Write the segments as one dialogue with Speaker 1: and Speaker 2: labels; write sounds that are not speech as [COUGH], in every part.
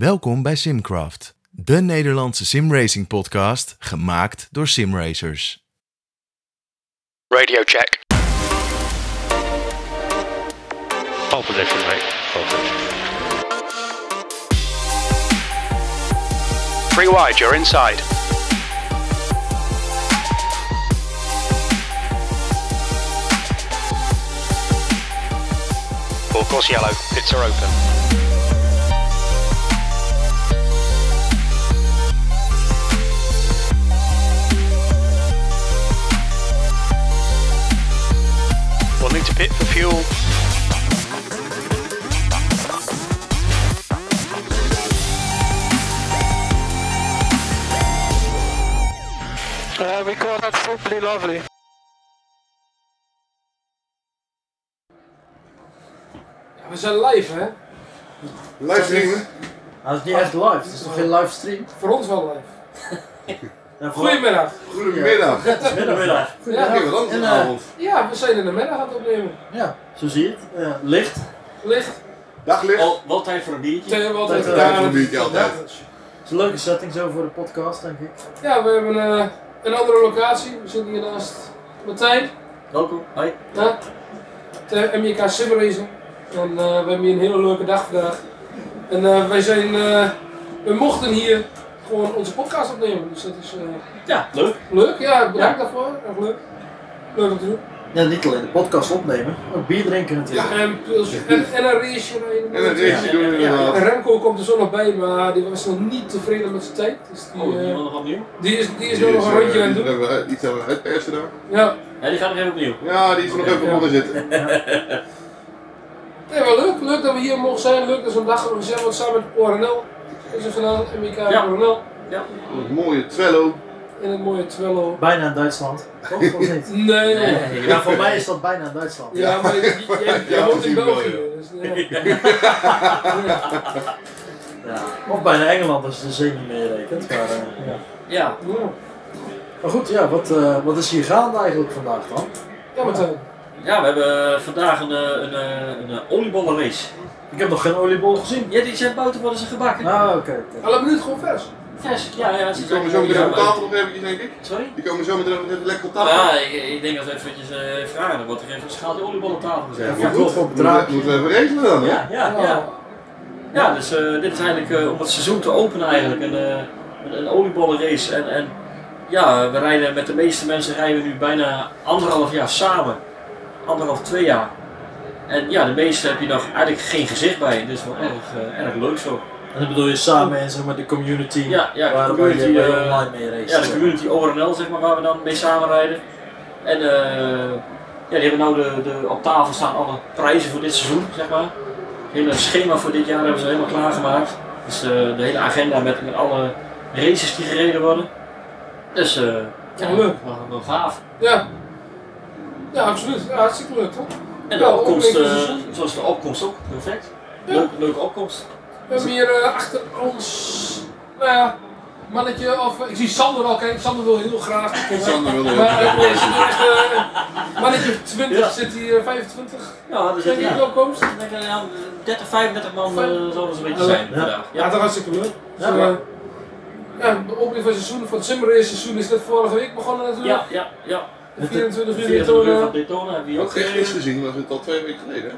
Speaker 1: Welkom bij Simcraft, de Nederlandse simracing podcast gemaakt door simracers.
Speaker 2: Radio check.
Speaker 3: Pole position, mate. Pole position.
Speaker 2: Three wide, you're inside. Full course yellow, pits are open. We'll need to pit for fuel.
Speaker 4: Uh, we call that simply lovely.
Speaker 5: We zijn live, hè?
Speaker 6: Livestreamen?
Speaker 7: Dat is niet echt live, het is toch geen livestream?
Speaker 5: Voor ons wel live.
Speaker 7: Ja, voor-
Speaker 5: Goedemiddag.
Speaker 6: Goedemiddag. Ja.
Speaker 7: Goedemiddag.
Speaker 6: Ja,
Speaker 5: Ja,
Speaker 6: wat anders
Speaker 7: En, eh,
Speaker 6: vanavond.
Speaker 5: ja, we zijn in de middag aan het opnemen.
Speaker 7: Ja, zo zie je het. Ja, licht.
Speaker 5: Licht,
Speaker 6: Dag Liv.
Speaker 8: Wel, wel tijd voor een biertje.
Speaker 5: thee, wat even
Speaker 7: Tijd
Speaker 6: voor een biertje altijd.
Speaker 7: eh, Het is een leuke setting zo voor de podcast, denk ik.
Speaker 5: Ja, we hebben eh, een andere locatie. We zitten hier naast Martijn.
Speaker 8: Welkom. Hoi.
Speaker 5: Ja. De MJK Simracing. En eh, we hebben hier een hele leuke dag vandaag. En eh, wij zijn, eh, we mochten hier gewoon onze podcast opnemen. Dus dat is eh,
Speaker 8: Ja, leuk.
Speaker 5: leuk. Ja, bedankt daarvoor. Erg leuk. Leuk om te doen.
Speaker 7: Ja, niet alleen de podcast opnemen, ook bier drinken natuurlijk.
Speaker 5: En, pils- en, en een raceje rijden.
Speaker 6: En dat race doen we
Speaker 5: En
Speaker 6: inderdaad.
Speaker 5: Remco komt er zo nog bij, maar die was nog niet tevreden met zijn tijd. Dus die,
Speaker 8: Oh, die
Speaker 5: eh,
Speaker 8: wil nog opnieuw?
Speaker 5: die is, die is
Speaker 6: Die
Speaker 5: nog
Speaker 6: is,
Speaker 5: een
Speaker 6: eh,
Speaker 5: rondje aan het
Speaker 6: die
Speaker 5: doen.
Speaker 6: hebben we uit- Iets aan het uitpersen daar.
Speaker 5: Ja,
Speaker 8: Ja, die gaat nog even opnieuw.
Speaker 6: Ja, die is er nog even
Speaker 5: Ja.
Speaker 6: onder zitten.
Speaker 5: nee, wel leuk. Leuk dat we hier mogen zijn. Leuk dat zo'n dag georganiseerd wordt samen met ORNL. Is er gedaan, MK
Speaker 8: Ja.
Speaker 5: ORNL.
Speaker 6: Dat mooie Twello.
Speaker 5: In het mooie Twello.
Speaker 7: Bijna in Duitsland. Toch? Of niet?
Speaker 5: [LAUGHS] Nee,
Speaker 8: Nee,
Speaker 5: nee.
Speaker 8: nee, nee.
Speaker 7: Ja, voor mij is dat bijna in Duitsland.
Speaker 5: Ja, maar jij- jij jij
Speaker 6: Ja,
Speaker 5: woont in
Speaker 6: misschien wel,
Speaker 5: België.
Speaker 6: ja.
Speaker 5: Dus, ja.
Speaker 6: [LAUGHS]
Speaker 7: Ja. Of bijna Engeland als je de zee niet meerekent. Maar, eh, ja.
Speaker 8: Ja.
Speaker 5: Ja.
Speaker 7: maar goed, ja, wat, eh, wat is hier gaande eigenlijk vandaag dan?
Speaker 5: Ja, Martijn.
Speaker 8: ja, we hebben vandaag een, eh, een, eh, een, eh, oliebollenrace.
Speaker 7: Ik heb nog geen oliebol gezien.
Speaker 8: Ja, die zijn buiten worden ze gebakken.
Speaker 7: Nou, oké. oké.
Speaker 5: Alle minuut gewoon vers.
Speaker 8: Vers. Ja, ja, ze
Speaker 6: Die komen zo meteen op
Speaker 8: Ja,
Speaker 6: tafel nog eventjes, denk ik.
Speaker 8: Sorry?
Speaker 6: Die komen zo meteen nog even lekker op tafel.
Speaker 8: Ja, ik, ik denk dat we eventjes eh, vragen. Dan wordt er even een schaaltje oliebol op tafel gezet.
Speaker 7: Ja,
Speaker 6: Maar
Speaker 7: klopt, op
Speaker 6: goed,
Speaker 7: het draadje.
Speaker 6: moeten we even regelen dan, hè?
Speaker 8: Ja, ja, ja. Ja, dus eh, dit is eigenlijk eh, om het seizoen te openen eigenlijk. Een, eh, een, een oliebollenrace. En, en ja, we rijden met de meeste mensen rijden we nu bijna anderhalf jaar samen. Anderhalf, twee jaar. En ja, de meeste heb je nog eigenlijk geen gezicht bij. Dus wel erg, eh, erg leuk zo.
Speaker 7: En dan bedoel je samen en zo met de community.
Speaker 8: Ja, ja, de
Speaker 7: waar
Speaker 8: community,
Speaker 7: waar je
Speaker 8: eh,
Speaker 7: online mee race.
Speaker 8: Ja, de community ORNL zeg maar, waar we dan mee samen rijden. En eh, ja, die hebben nou de, de, op tafel staan alle prijzen voor dit seizoen, zeg maar. Het hele schema voor dit jaar hebben ze helemaal klaargemaakt. Dus eh, de hele agenda met, met alle races die gereden worden. Dus eh
Speaker 5: Ja, leuk.
Speaker 8: Wel, wel gaaf.
Speaker 5: Ja. Ja, absoluut. Ja, hartstikke leuk, toch?
Speaker 8: En de
Speaker 5: Ja,
Speaker 8: opkomst,
Speaker 5: ook een
Speaker 8: eh,
Speaker 5: seizoen.
Speaker 8: zoals de opkomst ook, perfect.
Speaker 5: Ja.
Speaker 8: Leuk, leuke opkomst.
Speaker 5: We hebben hier eh, achter ons, nou ja, mannetje of, eh, ik zie Sander al kijken, Sander wil heel graag.
Speaker 6: Sander wil heel
Speaker 5: Maar,
Speaker 6: graag.
Speaker 5: eh, er zit echt, eh, mannetje of 20
Speaker 8: Ja.
Speaker 5: zit hier, eh, 25,
Speaker 8: Ja, er
Speaker 5: denk
Speaker 8: zitten
Speaker 5: ik,
Speaker 8: ja.
Speaker 5: welkomst.
Speaker 8: ik denk, eh, ja, 30, 35 man eh zouden zo'n beetje
Speaker 5: Ja.
Speaker 8: zijn vandaag.
Speaker 5: Ja, dat is hartstikke leuk. Dus, eh,
Speaker 7: maar-
Speaker 5: ja, de opening van het seizoen, van het simrace seizoen is net vorige week begonnen natuurlijk.
Speaker 8: ja, ja. ja.
Speaker 5: De 24 uur in
Speaker 8: 24 uur van
Speaker 5: Tona.
Speaker 8: Daytona hebben we hier
Speaker 6: Ook
Speaker 8: ook
Speaker 6: geen
Speaker 8: eh,
Speaker 6: gist gezien, was het al twee weken geleden. hè?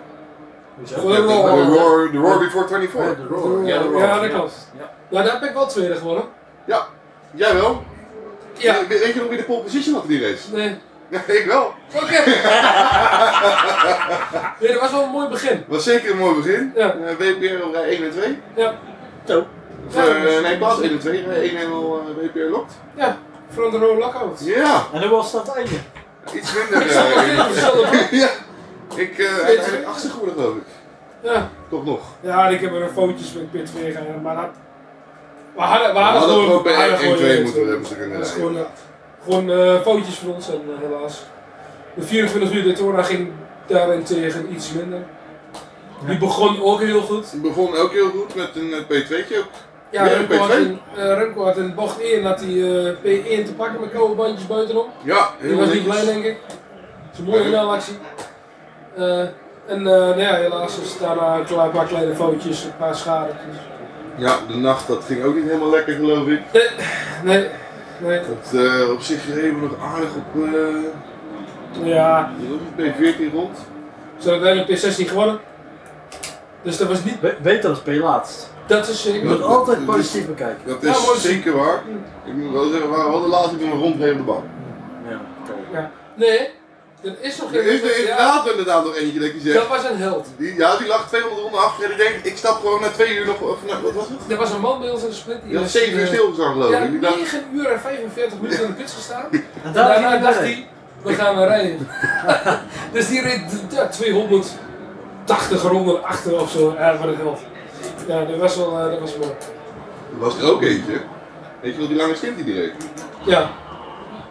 Speaker 7: Hoezo?
Speaker 6: Ja,
Speaker 5: Roar.
Speaker 6: De Roar- de Roar Before
Speaker 7: Ja,
Speaker 6: 24.
Speaker 7: de roar.
Speaker 8: Ja,
Speaker 5: Ja,
Speaker 8: de Roar.
Speaker 5: dat klopt.
Speaker 8: Ja.
Speaker 5: Ja, daar ben ik wel tweede gewonnen.
Speaker 6: Ja, jij wel?
Speaker 5: Ja.
Speaker 6: We- Weet je nog wie de pole position had in die race?
Speaker 5: Nee.
Speaker 6: Ja, ik wel.
Speaker 5: Oké.
Speaker 6: [LAUGHS]
Speaker 5: nee, dat was wel een mooi begin.
Speaker 6: Was zeker een mooi begin.
Speaker 5: Ja.
Speaker 6: Eh, WPR op rij 1 en 2.
Speaker 5: Ja.
Speaker 8: Zo.
Speaker 6: Of,
Speaker 5: Ja,
Speaker 6: eh,
Speaker 5: dat is-
Speaker 6: nee, plaats 1 en 2. Rij 1 en al eh, WPR lokt.
Speaker 5: Ja, van de Rode Lockout.
Speaker 6: Ja,
Speaker 7: En hoe was dat einde?
Speaker 6: iets minder.
Speaker 5: Ik zat nog
Speaker 6: eh,
Speaker 5: in op dezelfde bank.
Speaker 6: [LAUGHS] ja, ik eh uiteindelijk achter geworden geloof ik.
Speaker 5: Ja.
Speaker 6: Toch nog.
Speaker 5: Ja, en ik heb er fotootjes met Pit weer gedaan, maar dat... We hadden, we
Speaker 6: We
Speaker 5: hadden
Speaker 6: hadden
Speaker 5: gewoon...
Speaker 6: ook bij
Speaker 5: we hadden
Speaker 6: 1-2
Speaker 5: gewoon-
Speaker 6: moeten we hebben ze kunnen
Speaker 5: Dat is
Speaker 6: rijden.
Speaker 5: gewoon, eh, gewoon eh, fotootjes van ons en eh, helaas. De 24 uur Daytona ging daarentegen iets minder. Die begon ook heel goed.
Speaker 6: Het begon ook heel goed met een eh, P2'tje. ook.
Speaker 5: Ja,
Speaker 6: Ja,
Speaker 5: Remco,
Speaker 6: P2.
Speaker 5: had in, eh, Remco had in bocht 1 had hij eh, P1 te pakken met koude bandjes buitenom.
Speaker 6: Ja,
Speaker 5: Die
Speaker 6: heel
Speaker 5: was niet
Speaker 6: netjes.
Speaker 5: blij, denk ik. Het is een mooie
Speaker 6: Nee.
Speaker 5: knelactie. Eh, en eh, nou ja, helaas is daarna een klein- paar kleine foutjes, een paar schade. Dus
Speaker 6: Ja, de nacht, dat ging ook niet helemaal lekker geloof ik.
Speaker 5: Nee, nee.
Speaker 6: Dat eh, op zich reden we nog aardig op eh,
Speaker 5: Ja,
Speaker 6: P14 rond.
Speaker 5: ze hebben uiteindelijk P16 gewonnen. Dus dat was niet...
Speaker 7: Be- beter als P laatst.
Speaker 5: Dat is zeker.
Speaker 7: Je moet
Speaker 6: Ja,
Speaker 7: altijd
Speaker 6: dat-
Speaker 7: positief bekijken.
Speaker 6: Dat
Speaker 5: Ja,
Speaker 6: is
Speaker 5: maar-
Speaker 6: zeker waar. Ik moet wel zeggen, we hadden de laatste keer een rondreden op de bank.
Speaker 7: Ja.
Speaker 5: Ja. Nee, er is nog geen...
Speaker 6: Er is er
Speaker 5: ja,
Speaker 6: inderdaad inderdaad nog eentje dat je
Speaker 5: dat
Speaker 6: zegt.
Speaker 5: was een held.
Speaker 6: Die, ja, die lag 200 ronden achter en ik denk, ik stap gewoon na twee uur nog, of na, wat was het?
Speaker 5: Er was een man bij ons in de split. Die
Speaker 6: Die
Speaker 5: was,
Speaker 6: had 7 uur
Speaker 5: eh,
Speaker 6: stilgestaan geloof
Speaker 5: Ja,
Speaker 6: ik. Ik dacht,
Speaker 5: 9 uur en 45 minuten in de put
Speaker 7: [LAUGHS]
Speaker 5: gestaan.
Speaker 7: En daar
Speaker 5: Daarna
Speaker 7: ging
Speaker 5: dacht
Speaker 7: hij.
Speaker 5: hij, we gaan weer
Speaker 7: [LAUGHS]
Speaker 5: rijden. dus die reed ja, 280 ronden achter of zo. Ja, voor de helft. Ja, dat was wel eh, dat was mooi.
Speaker 6: er was er ook eentje. Weet je wel, die lange stint die die reed?
Speaker 5: Ja,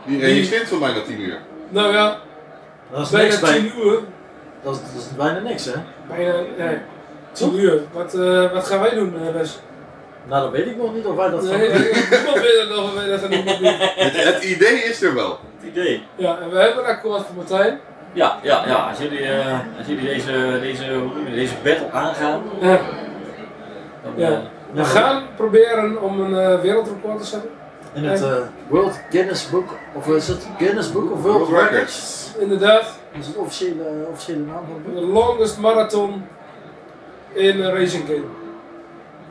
Speaker 6: Die reed
Speaker 5: Die-
Speaker 6: een stint van mij na 10 uur.
Speaker 5: nou ja,
Speaker 7: Dat is niks
Speaker 5: bijna
Speaker 7: bij.
Speaker 5: 10 uur.
Speaker 7: Dat is, dat is bijna niks, hè?
Speaker 5: Bijna, nee, 10 uur. Wat, eh, wat gaan wij doen, eh, Wes?
Speaker 7: Nou, dat weet ik nog niet of wij dat gaan
Speaker 5: Nee,
Speaker 7: doen.
Speaker 5: [LAUGHS] niemand weet dat nog, we weten dat er niemand
Speaker 6: [LAUGHS]
Speaker 5: niet.
Speaker 6: Het, het idee is er wel.
Speaker 8: Het idee.
Speaker 5: Ja, en we hebben een akkoord voor Martijn.
Speaker 8: Ja, ja, ja. Als jullie, eh, als jullie deze, deze, hoe noem je dat, deze battle aangaan,
Speaker 5: Ja,
Speaker 8: dan
Speaker 5: Ja.
Speaker 8: eh,
Speaker 5: we gaan proberen om een eh, wereldrecord te zetten.
Speaker 7: In het eh, World Guinness Book, of is het Guinness Book of World,
Speaker 6: World
Speaker 7: Records?
Speaker 6: Records.
Speaker 5: Inderdaad,
Speaker 7: Dat is de officiële, officiële naam van het boek.
Speaker 5: de longest marathon in een racing game.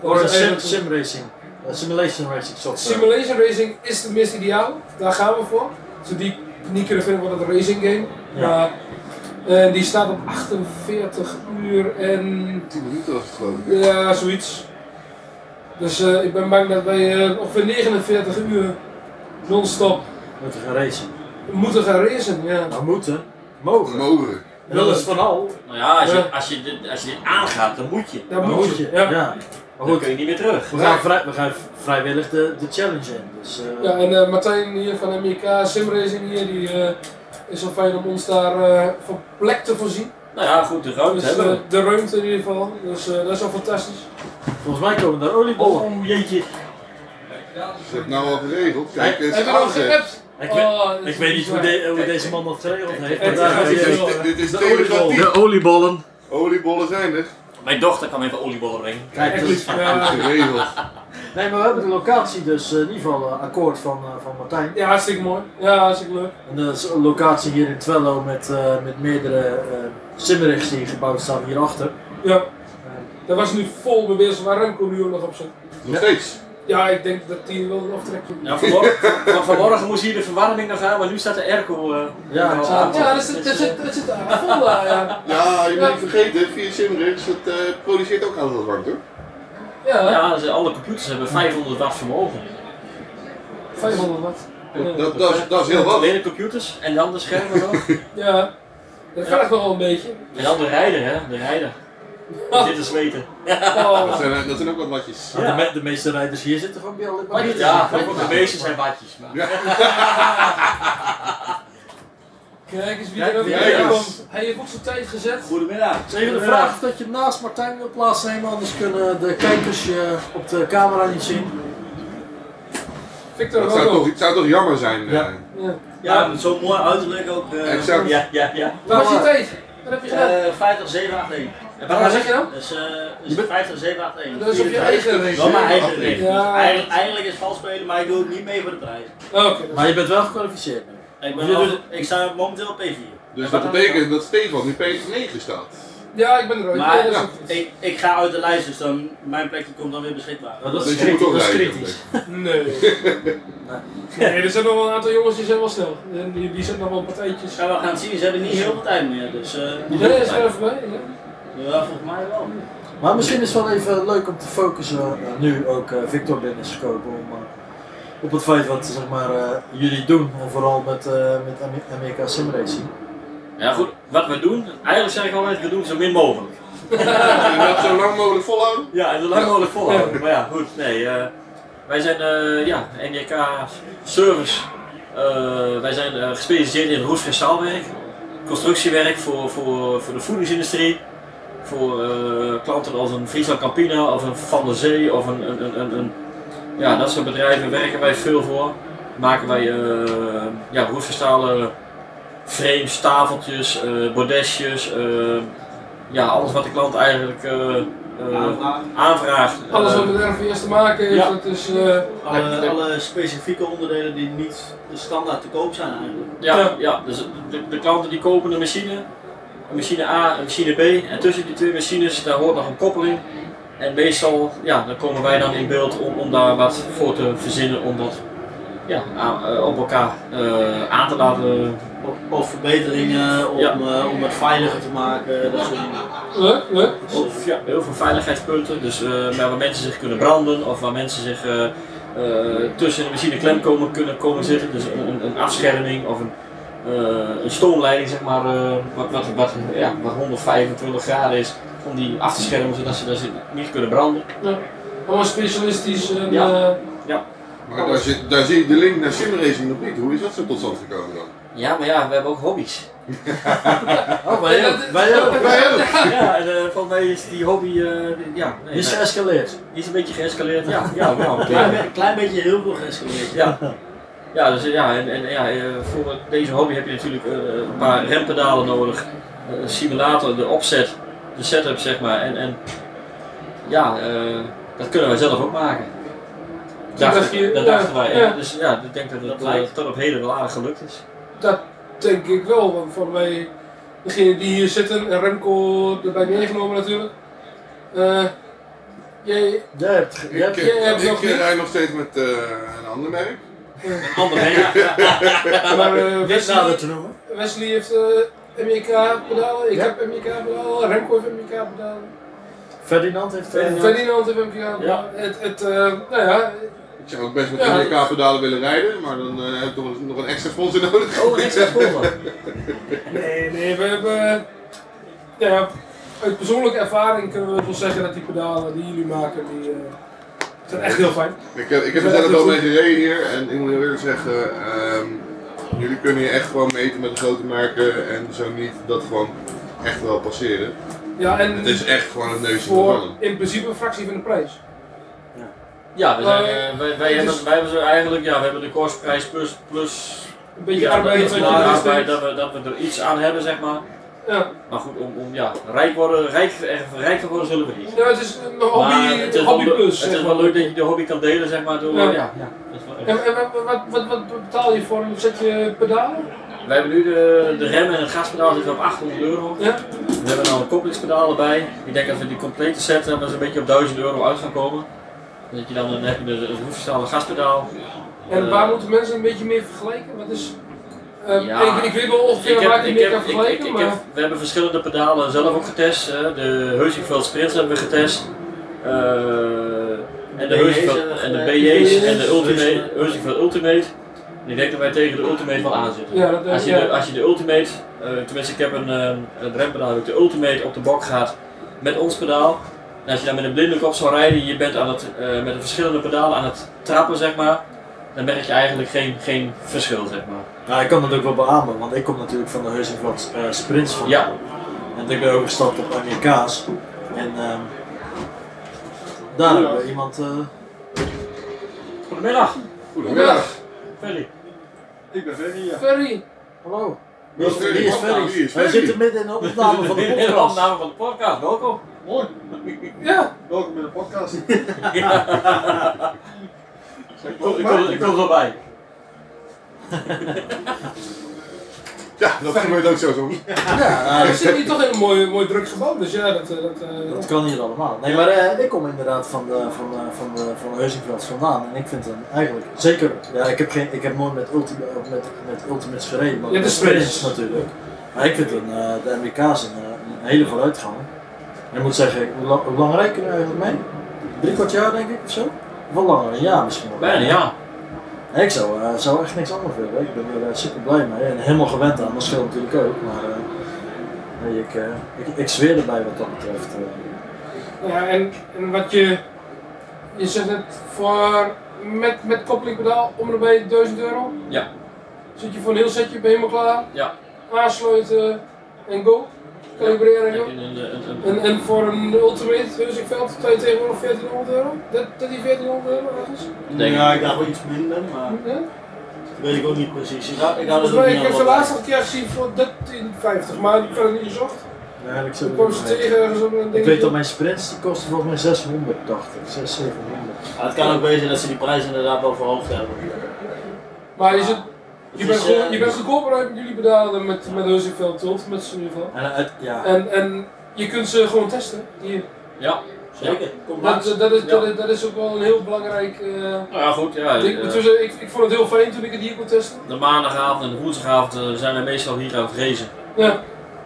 Speaker 5: Dat
Speaker 7: Of
Speaker 5: is
Speaker 7: een sim,
Speaker 5: eigenlijk-
Speaker 7: sim racing. Eh, simulation racing
Speaker 6: eh,
Speaker 7: software.
Speaker 5: Simulation racing is het meest ideaal, daar gaan we voor. Zo die niet kunnen vinden wordt het een racing game.
Speaker 7: Ja.
Speaker 5: Maar, eh, die staat op 48 uur en
Speaker 6: 10 minuten was het geloof ik.
Speaker 5: ja, zoiets. Dus eh, ik ben bang dat wij eh, ongeveer 49 uur non-stop
Speaker 7: Moeten gaan racen.
Speaker 5: moeten gaan racen. Ja.
Speaker 7: Maar moeten, mogen.
Speaker 6: Mogen.
Speaker 7: en dat is van al.
Speaker 8: Nou ja, als
Speaker 5: Ja.
Speaker 8: je, als je, dit, als je dit aangaat, dan moet je.
Speaker 5: Daar
Speaker 7: maar
Speaker 5: moet je. Ja.
Speaker 7: ja. Maar
Speaker 8: Dan
Speaker 7: goed,
Speaker 8: kun je niet meer terug.
Speaker 7: we gaan, vrij, we gaan vrijwillig de, de challenge in. Dus, eh,
Speaker 5: Ja, en eh, Martijn hier van MK Simracing hier, die eh, is wel fijn om ons daar eh, van plek te voorzien.
Speaker 8: Nou ja, goed, de ruimte
Speaker 5: Dus,
Speaker 8: hebben we.
Speaker 5: eh, de ruimte in ieder geval, dus eh, dat is wel fantastisch.
Speaker 7: Volgens mij komen daar oliebollen.
Speaker 8: Oh jeetje.
Speaker 6: Ze hebben het nou al geregeld. Kijk, het is
Speaker 5: Hebben we nog
Speaker 6: aangezet.
Speaker 5: geappt?
Speaker 7: Ik,
Speaker 5: Oh,
Speaker 7: weet-
Speaker 5: dat
Speaker 7: ik
Speaker 5: is
Speaker 7: weet niet hoe,
Speaker 5: bizar.
Speaker 7: de- hoe deze man dat geregeld heeft, maar
Speaker 5: Echt,
Speaker 7: daar
Speaker 5: ja,
Speaker 7: gaat
Speaker 6: Dit
Speaker 7: hij
Speaker 5: dit
Speaker 6: is- dit-
Speaker 7: heen.
Speaker 6: Dit is
Speaker 7: De oliebollen.
Speaker 6: telegrafie.
Speaker 5: Eh,
Speaker 7: De oliebollen.
Speaker 6: Oliebollen zijn er.
Speaker 8: Mijn dochter kan even oliebollen brengen.
Speaker 7: Kijk,
Speaker 5: Echt
Speaker 7: dat
Speaker 5: niet.
Speaker 7: is-
Speaker 5: Ja,
Speaker 6: Geregeld.
Speaker 7: nee, maar we hebben de locatie dus eh, in ieder geval eh, akkoord van, eh, van Martijn.
Speaker 5: ja, hartstikke mooi. Ja, hartstikke leuk.
Speaker 7: En dat is een locatie hier in Twello met, eh, met meerdere eh simmerigs die gebouwd staan hierachter.
Speaker 5: Ja. Dat was nu vol bewezen waar Remco nu ook nog op zit.
Speaker 6: Nog steeds.
Speaker 5: Ja, ik denk dat die wel een aftrek doet.
Speaker 8: Nou, vanmorgen, van- vanmorgen moest hier de verwarming nog aan, maar nu staat de airco. eh,
Speaker 7: Ja,
Speaker 8: nog
Speaker 7: ik
Speaker 8: aan.
Speaker 7: zag
Speaker 5: Ja, dat zit, dat zit, dat zit daar vol daar, ja.
Speaker 6: Ja, je moet niet vergeten, via Simrix, dat eh, produceert ook altijd wat warmte hoor.
Speaker 5: Ja,
Speaker 8: Ja, ze- alle computers hebben 500 watt vermogen.
Speaker 5: 500 watt. Ja.
Speaker 6: Dat, dat, is, dat is heel wat.
Speaker 8: Alleen de computers en dan de schermen nog.
Speaker 5: [LAUGHS] Ja, dat vergt nog wel een beetje.
Speaker 8: En dan de rijder, hè? De
Speaker 5: [LAUGHS]
Speaker 8: rijder. Die zit te zweten.
Speaker 5: Oh.
Speaker 6: Dat zijn, eh, dat zijn ook wat watjes.
Speaker 7: De, me- de meeste rijders hier zitten gewoon bij alle computers.
Speaker 8: Ja, ook de beesten zijn watjes. Maar...
Speaker 5: [LAUGHS] Kijk eens wie
Speaker 7: Kijk,
Speaker 5: er ook
Speaker 7: wie
Speaker 6: er
Speaker 5: weer
Speaker 6: is.
Speaker 5: komt. Hij heeft ook zijn tijd gezet.
Speaker 8: Goedemiddag.
Speaker 7: Het [LAUGHS] is even de vraag of dat je naast Martijn wil plaatsnemen, anders kunnen de kijkers je op de camera niet zien.
Speaker 5: Victor
Speaker 6: Dat zou
Speaker 5: Rogo.
Speaker 6: toch, het zou toch jammer zijn. eh.
Speaker 7: Ja.
Speaker 5: Ja.
Speaker 8: Ja, met zo'n mooi uiterlijk ook. eh,
Speaker 6: Exact.
Speaker 8: Ja, ja, ja.
Speaker 5: Waar was je tijd? Wat heb je gedaan?
Speaker 8: Eh 50, 7, 8, 1. En
Speaker 5: Wat zeg je dan?
Speaker 8: Dus, eh dus 50, 7, 8, 1.
Speaker 5: Dat is op je
Speaker 6: Hij is
Speaker 5: eigen
Speaker 6: er
Speaker 5: race.
Speaker 8: Wel mijn
Speaker 6: zeker
Speaker 8: eigen
Speaker 6: af.
Speaker 8: regel.
Speaker 5: Ja.
Speaker 8: Dus Eigenlijk, eigenlijk is vals spelen, maar ik doe het niet mee voor de prijs.
Speaker 5: Oh, Oké.
Speaker 7: Maar je bent wel gekwalificeerd nu.
Speaker 8: Ik,
Speaker 7: Je
Speaker 8: ben al-
Speaker 7: doet-
Speaker 8: ik sta momenteel op P4.
Speaker 6: Dus
Speaker 8: En wat
Speaker 6: dat
Speaker 8: dan?
Speaker 6: betekent dat Stefan nu P9 staat.
Speaker 5: Ja, ik ben er ook. Ja,
Speaker 8: Maar
Speaker 5: dat is
Speaker 6: ja.
Speaker 5: ook-
Speaker 8: ik, ik ga uit de lijst, dus dan, mijn plekje komt dan weer beschikbaar.
Speaker 7: Nou, dat
Speaker 6: Dus
Speaker 7: is
Speaker 6: je moet
Speaker 7: kritisch.
Speaker 6: toch
Speaker 7: Dat is
Speaker 6: rijden.
Speaker 7: kritisch.
Speaker 5: Nee.
Speaker 6: [LAUGHS]
Speaker 5: Nee, dus- er zijn nog wel een aantal jongens die zijn wel snel. En die, die zijn nog wel partijtjes.
Speaker 8: Gaan we gaan zien, ze hebben niet heel veel tijd meer. Dus, eh
Speaker 5: Nee, dat is wel even bij. ja.
Speaker 8: ja, volgens mij wel.
Speaker 7: Maar misschien is het wel even leuk om te focussen, eh, nu ook eh, Victor binnen is gekomen, om, eh, op het feit wat zeg maar, eh, jullie doen. En vooral met, eh met Ame- Amerika Sim Racing.
Speaker 8: Ja goed, wat we doen, eigenlijk zeg ik altijd, we doen zo min
Speaker 6: [LAUGHS]
Speaker 8: mogelijk.
Speaker 6: En dat zo lang mogelijk volhouden.
Speaker 8: Ja, en zo lang mogelijk volhouden. Maar ja, goed, nee. eh, wij zijn eh, ja, NJK Service. Eh, wij zijn eh, gespecialiseerd in roest- en staalwerk, constructiewerk voor, voor, voor de voedingsindustrie. Voor eh, klanten als een Friesland Campina of een Van der Zee of een, een, een, een, een- ja, dat soort bedrijven werken wij veel voor. Maken wij eh ja, roest- en stalen frames, tafeltjes, eh, bordesjes, eh, ja, alles wat de klant eigenlijk eh, eh, aanvraag.
Speaker 5: Alles
Speaker 8: Eh,
Speaker 5: wat met RVS te maken heeft,
Speaker 9: Ja.
Speaker 5: dat is... eh,
Speaker 9: Alle, alle specifieke onderdelen die niet standaard te koop zijn eigenlijk.
Speaker 5: Ja.
Speaker 8: Ja, ja dus de, de klanten die kopen een machine, een machine A en machine B. En tussen die twee machines, daar hoort nog een koppeling. En meestal, ja, dan komen wij dan in beeld om, om daar wat voor te verzinnen, om dat ja, aan- eh, op elkaar eh, aan te laten.
Speaker 9: Of, of verbeteringen om,
Speaker 8: Ja.
Speaker 9: eh, om het veiliger te maken. Dat soort dingen.
Speaker 5: leuk, leuk.
Speaker 8: Of ja, heel veel veiligheidspunten, dus eh, maar waar mensen zich kunnen branden of waar mensen zich eh, eh, tussen de machine klem komen, kunnen komen zitten. Dus een, een- een afscherming of een, eh, een stoomleiding, zeg maar, eh, wat, wat, wat, ja, wat 125 graden is, om die af te schermen zodat ze, dat ze niet kunnen branden.
Speaker 5: Allemaal specialistisch. En,
Speaker 8: Ja.
Speaker 5: eh,
Speaker 6: Maar daar, zit, daar zie ik de link naar simracing nog niet. Hoe is dat zo tot stand gekomen dan?
Speaker 8: Ja, maar ja, we hebben ook
Speaker 6: [LAUGHS]
Speaker 8: hobby's.
Speaker 7: [LAUGHS] Oh, wij
Speaker 5: Ja,
Speaker 7: ook.
Speaker 5: dat-
Speaker 7: Wij ook.
Speaker 6: Wij ook!
Speaker 8: ja, en eh, volgens mij is die hobby, eh, die- ja, nee,
Speaker 7: Die is
Speaker 8: nee,
Speaker 7: geëscaleerd. Oh,
Speaker 8: die is een beetje geëscaleerd. Ja, ja, ja, oké.
Speaker 9: Klein, be- klein beetje heel veel geëscaleerd.
Speaker 8: Ja. Ja, dus eh, ja, en, en ja, eh, voor deze hobby heb je natuurlijk eh, een paar rempedalen nodig, eh, een simulator, de opzet, de setup zeg maar. En, en ja, eh, dat kunnen wij zelf ook maken.
Speaker 5: dacht je-
Speaker 8: Dachten, dat
Speaker 5: ja,
Speaker 8: dachten wij.
Speaker 5: ja.
Speaker 8: Dus ja, ik denk dat het
Speaker 9: Dat
Speaker 8: eh,
Speaker 9: lijkt.
Speaker 8: tot op heden wel aardig gelukt is.
Speaker 5: Dat denk ik wel, want voor mij, degene die hier zitten, en Remco erbij meegenomen natuurlijk. Eh, jij,
Speaker 7: Jij hebt, ge- jij
Speaker 6: Ik,
Speaker 7: hebt
Speaker 5: je hebt
Speaker 6: eh, ik
Speaker 5: nog niet-
Speaker 6: rij nog steeds met eh, een ander merk.
Speaker 8: Ander ja.
Speaker 5: [LAUGHS]
Speaker 6: [LAUGHS]
Speaker 5: maar eh,
Speaker 7: dit nader
Speaker 5: Wesley,
Speaker 7: te noemen.
Speaker 5: Wesley heeft eh MEK pedaal, ik
Speaker 7: Ja.
Speaker 5: heb MEK pedaal, oh, Remco heeft MEK pedaal,
Speaker 7: Ferdinand heeft... eh,
Speaker 5: Ferdinand heeft MEK pedaal. Het, het, eh, nou ja,
Speaker 6: Ik zou ook best met
Speaker 5: Ja,
Speaker 6: de pedalen willen rijden, maar dan eh, heb ik toch eens- nog een extra sponsor nodig.
Speaker 8: Oh, niks gevonden.
Speaker 6: [LAUGHS]
Speaker 5: nee, nee, we hebben, eh, nou ja, uit persoonlijke ervaring kunnen we wel zeggen dat die pedalen die jullie maken, die eh, zijn echt heel fijn.
Speaker 6: Ik heb, ik heb
Speaker 5: Ja,
Speaker 6: mezelf
Speaker 5: dat
Speaker 6: wel
Speaker 5: is
Speaker 6: mee gereden hier en ik moet heel eerlijk zeggen, ehm, jullie kunnen hier echt gewoon meten met de grote merken en zo niet dat gewoon echt wel passeren.
Speaker 5: Ja, en
Speaker 6: Het is echt gewoon het neusje van de
Speaker 5: voor
Speaker 6: mannen.
Speaker 5: in principe een fractie van de prijs.
Speaker 8: Ja, we zijn,
Speaker 5: Eh,
Speaker 8: eh, wij, wij,
Speaker 5: het is-
Speaker 8: hebben, wij hebben zo eigenlijk, ja, we hebben de kostprijs plus, plus
Speaker 5: Een beetje
Speaker 8: ja,
Speaker 5: arbeid,
Speaker 8: dat,
Speaker 5: wat
Speaker 8: dat,
Speaker 5: je
Speaker 8: dat-
Speaker 5: erin
Speaker 8: arbeid,
Speaker 5: steekt.
Speaker 8: dat, we, dat we er iets aan hebben, zeg maar.
Speaker 5: Ja.
Speaker 8: Maar goed, om, om ja, rijk, worden, rijk, eh, rijk te worden zullen we niet.
Speaker 5: Nou, het is een hobby,
Speaker 8: Maar het is,
Speaker 5: hobby
Speaker 8: wel,
Speaker 5: plus.
Speaker 8: het
Speaker 5: zeg
Speaker 8: is
Speaker 5: maar.
Speaker 8: wel leuk dat je de hobby kan delen, zeg maar. Door,
Speaker 5: Ja.
Speaker 8: ja. Ja, dat is wel
Speaker 5: En,
Speaker 8: echt.
Speaker 5: en wat, wat, wat, wat betaal je voor een setje pedalen?
Speaker 8: Wij hebben nu de, de rem en het gaspedaal zitten op 800 euro.
Speaker 5: Ja.
Speaker 8: We hebben nou een koppelingspedaal erbij. Ik denk dat we die complete set hebben zo'n beetje op 1000 euro uit gaan komen. Dat je dan, dan heb je de, het hoefstaande gaspedaal.
Speaker 5: En
Speaker 8: Eh,
Speaker 5: waar moeten mensen een beetje mee vergelijken? Wat is, eh,
Speaker 8: Ja.
Speaker 5: ik, ik weet wel ongeveer
Speaker 8: Ik heb-
Speaker 5: waar ik het
Speaker 8: ik
Speaker 5: mee
Speaker 8: heb-
Speaker 5: kan
Speaker 8: ik-
Speaker 5: vergelijken,
Speaker 8: ik- ik
Speaker 5: maar
Speaker 8: heb- we hebben verschillende pedalen zelf ook getest. hè. de Heusieveld Sprints hebben we getest. Eh, en de
Speaker 9: BJ's
Speaker 8: Heusieveld
Speaker 9: hebben we
Speaker 8: en de
Speaker 9: gedaan.
Speaker 8: BJ's en de Ultimate,
Speaker 9: Heusieveld.
Speaker 8: Heusieveld Ultimate. En ik denk dat wij tegen de Ultimate wel aanzitten.
Speaker 5: Ja, dat denk
Speaker 8: als, je
Speaker 5: ik, ja.
Speaker 8: de, als je de Ultimate, eh, tenminste ik heb een, eh een rempedaal, heb ik de Ultimate op de bok gaat met ons pedaal. En als je dan met een blinde kop zou rijden, je bent aan het, eh, met de verschillende pedalen aan het trappen zeg maar. Dan merk je eigenlijk geen, geen verschil zeg maar.
Speaker 7: Nou, ik kan dat ook wel beamen, want ik kom natuurlijk van de Heusingbad eh Sprints van.
Speaker 8: Ja,
Speaker 7: En ik ben overgestapt op Amerikaans. En ehm, daar hebben we iemand. eh,
Speaker 8: goedemiddag.
Speaker 6: Goedemiddag.
Speaker 8: Ferry.
Speaker 9: Ik ben Ferry, ja.
Speaker 5: Ferry,
Speaker 7: Hallo. Wie
Speaker 6: Wie
Speaker 7: is
Speaker 6: is Ferry?
Speaker 7: Ferry?
Speaker 6: Wie is
Speaker 7: Wij
Speaker 6: Ferry?
Speaker 7: zitten midden in de opname van
Speaker 8: [LAUGHS]
Speaker 7: de
Speaker 8: In de
Speaker 7: podcast.
Speaker 8: opname van de podcast, welkom.
Speaker 9: Mooi.
Speaker 5: ja,
Speaker 9: Welkom in de
Speaker 8: [LAUGHS]
Speaker 9: podcast.
Speaker 5: [LAUGHS]
Speaker 8: Ik kom, ik kom, ik kom zo bij.
Speaker 6: Ja, dat gebeurt ook zo soms.
Speaker 7: Ah,
Speaker 6: dus
Speaker 5: we zitten hier toch in een mooi, mooi druk gebouw, dus ja, dat... eh, dat eh,
Speaker 7: Dat kan hier allemaal. Nee, maar eh, ik kom inderdaad van de, van de, van de, van de Heusingrads vandaan. En ik vind hem eigenlijk, zeker, ja, ik heb, geen, ik heb nooit met, ultima, of met, met Ultimates gereden, maar
Speaker 5: Ja,
Speaker 7: met
Speaker 5: de sprints.
Speaker 7: natuurlijk. Maar ik vind een, eh, de MWK's een, eh, een hele vooruitgang. En ik moet zeggen, hoe lang, hoe lang reken we eigenlijk mee? Drie kwart jaar denk ik of zo? Wel langer, een jaar misschien wel.
Speaker 8: Bijna, ja.
Speaker 7: Nee, ik zou, eh, zou echt niks anders willen. Ik ben er eh, super blij mee en helemaal gewend aan. Dat scheelt natuurlijk ook. Maar eh, nee, ik, eh, ik, ik zweer erbij wat dat betreft. eh.
Speaker 5: ja en, en wat je... Je zegt het voor... Met, met koppelingpedaal om en bij 1000 euro.
Speaker 8: Ja.
Speaker 5: Zit je voor een heel setje, ben je helemaal klaar.
Speaker 8: Ja.
Speaker 5: Aansluiten en go. Kalibreren en
Speaker 8: Heb
Speaker 5: go.
Speaker 8: je een- een- een-
Speaker 5: En, en voor een ultimate dus Heusinkveld zou je tegenwoordig 1400 euro? Dat, dat die 1400 euro ergens?
Speaker 8: Denk
Speaker 9: ja, ik dacht wel iets minder, maar
Speaker 5: Ja?
Speaker 9: dat weet ik ook niet precies. Ik, hou- ik hou
Speaker 5: Volgens
Speaker 9: dat ook
Speaker 5: mij,
Speaker 9: niet
Speaker 5: ik heb ze
Speaker 9: allemaal
Speaker 5: laatst nog een keer gezien voor 1350, maar die kan ik niet gezocht.
Speaker 9: bij.
Speaker 7: Nee, ik
Speaker 5: Ik kwam ze tegen ergens op een
Speaker 7: Ik weet dat
Speaker 5: dingetje.
Speaker 7: mijn sprints die kosten volgens mij 600, dacht ik. 600, 700.
Speaker 9: Maar Ah, het kan ook wezen dat ze die prijs inderdaad wel verhoogd hebben.
Speaker 5: Maar je, zit, je,
Speaker 9: Het
Speaker 5: bent,
Speaker 9: is,
Speaker 5: gewoon-
Speaker 9: eh,
Speaker 5: je bent goedkoper uit jullie betalen met, met Huzingveld, tot met z'n in ieder geval.
Speaker 8: eh,
Speaker 7: En, uit, ja.
Speaker 5: En, en je kunt ze gewoon testen. Hier.
Speaker 8: Ja,
Speaker 9: Zeker. Kom
Speaker 5: Dat,
Speaker 9: langs.
Speaker 5: dat, is,
Speaker 8: Ja.
Speaker 5: dat, is, dat is ook wel een heel belangrijk eh,
Speaker 8: Nou ja, goed, ja.
Speaker 5: ding.
Speaker 8: eh,
Speaker 5: Tussen- ik, ik vond het heel fijn toen ik het hier kon testen.
Speaker 8: de maandagavond en de woensdagavond eh, zijn wij meestal hier aan het racen.
Speaker 5: Ja,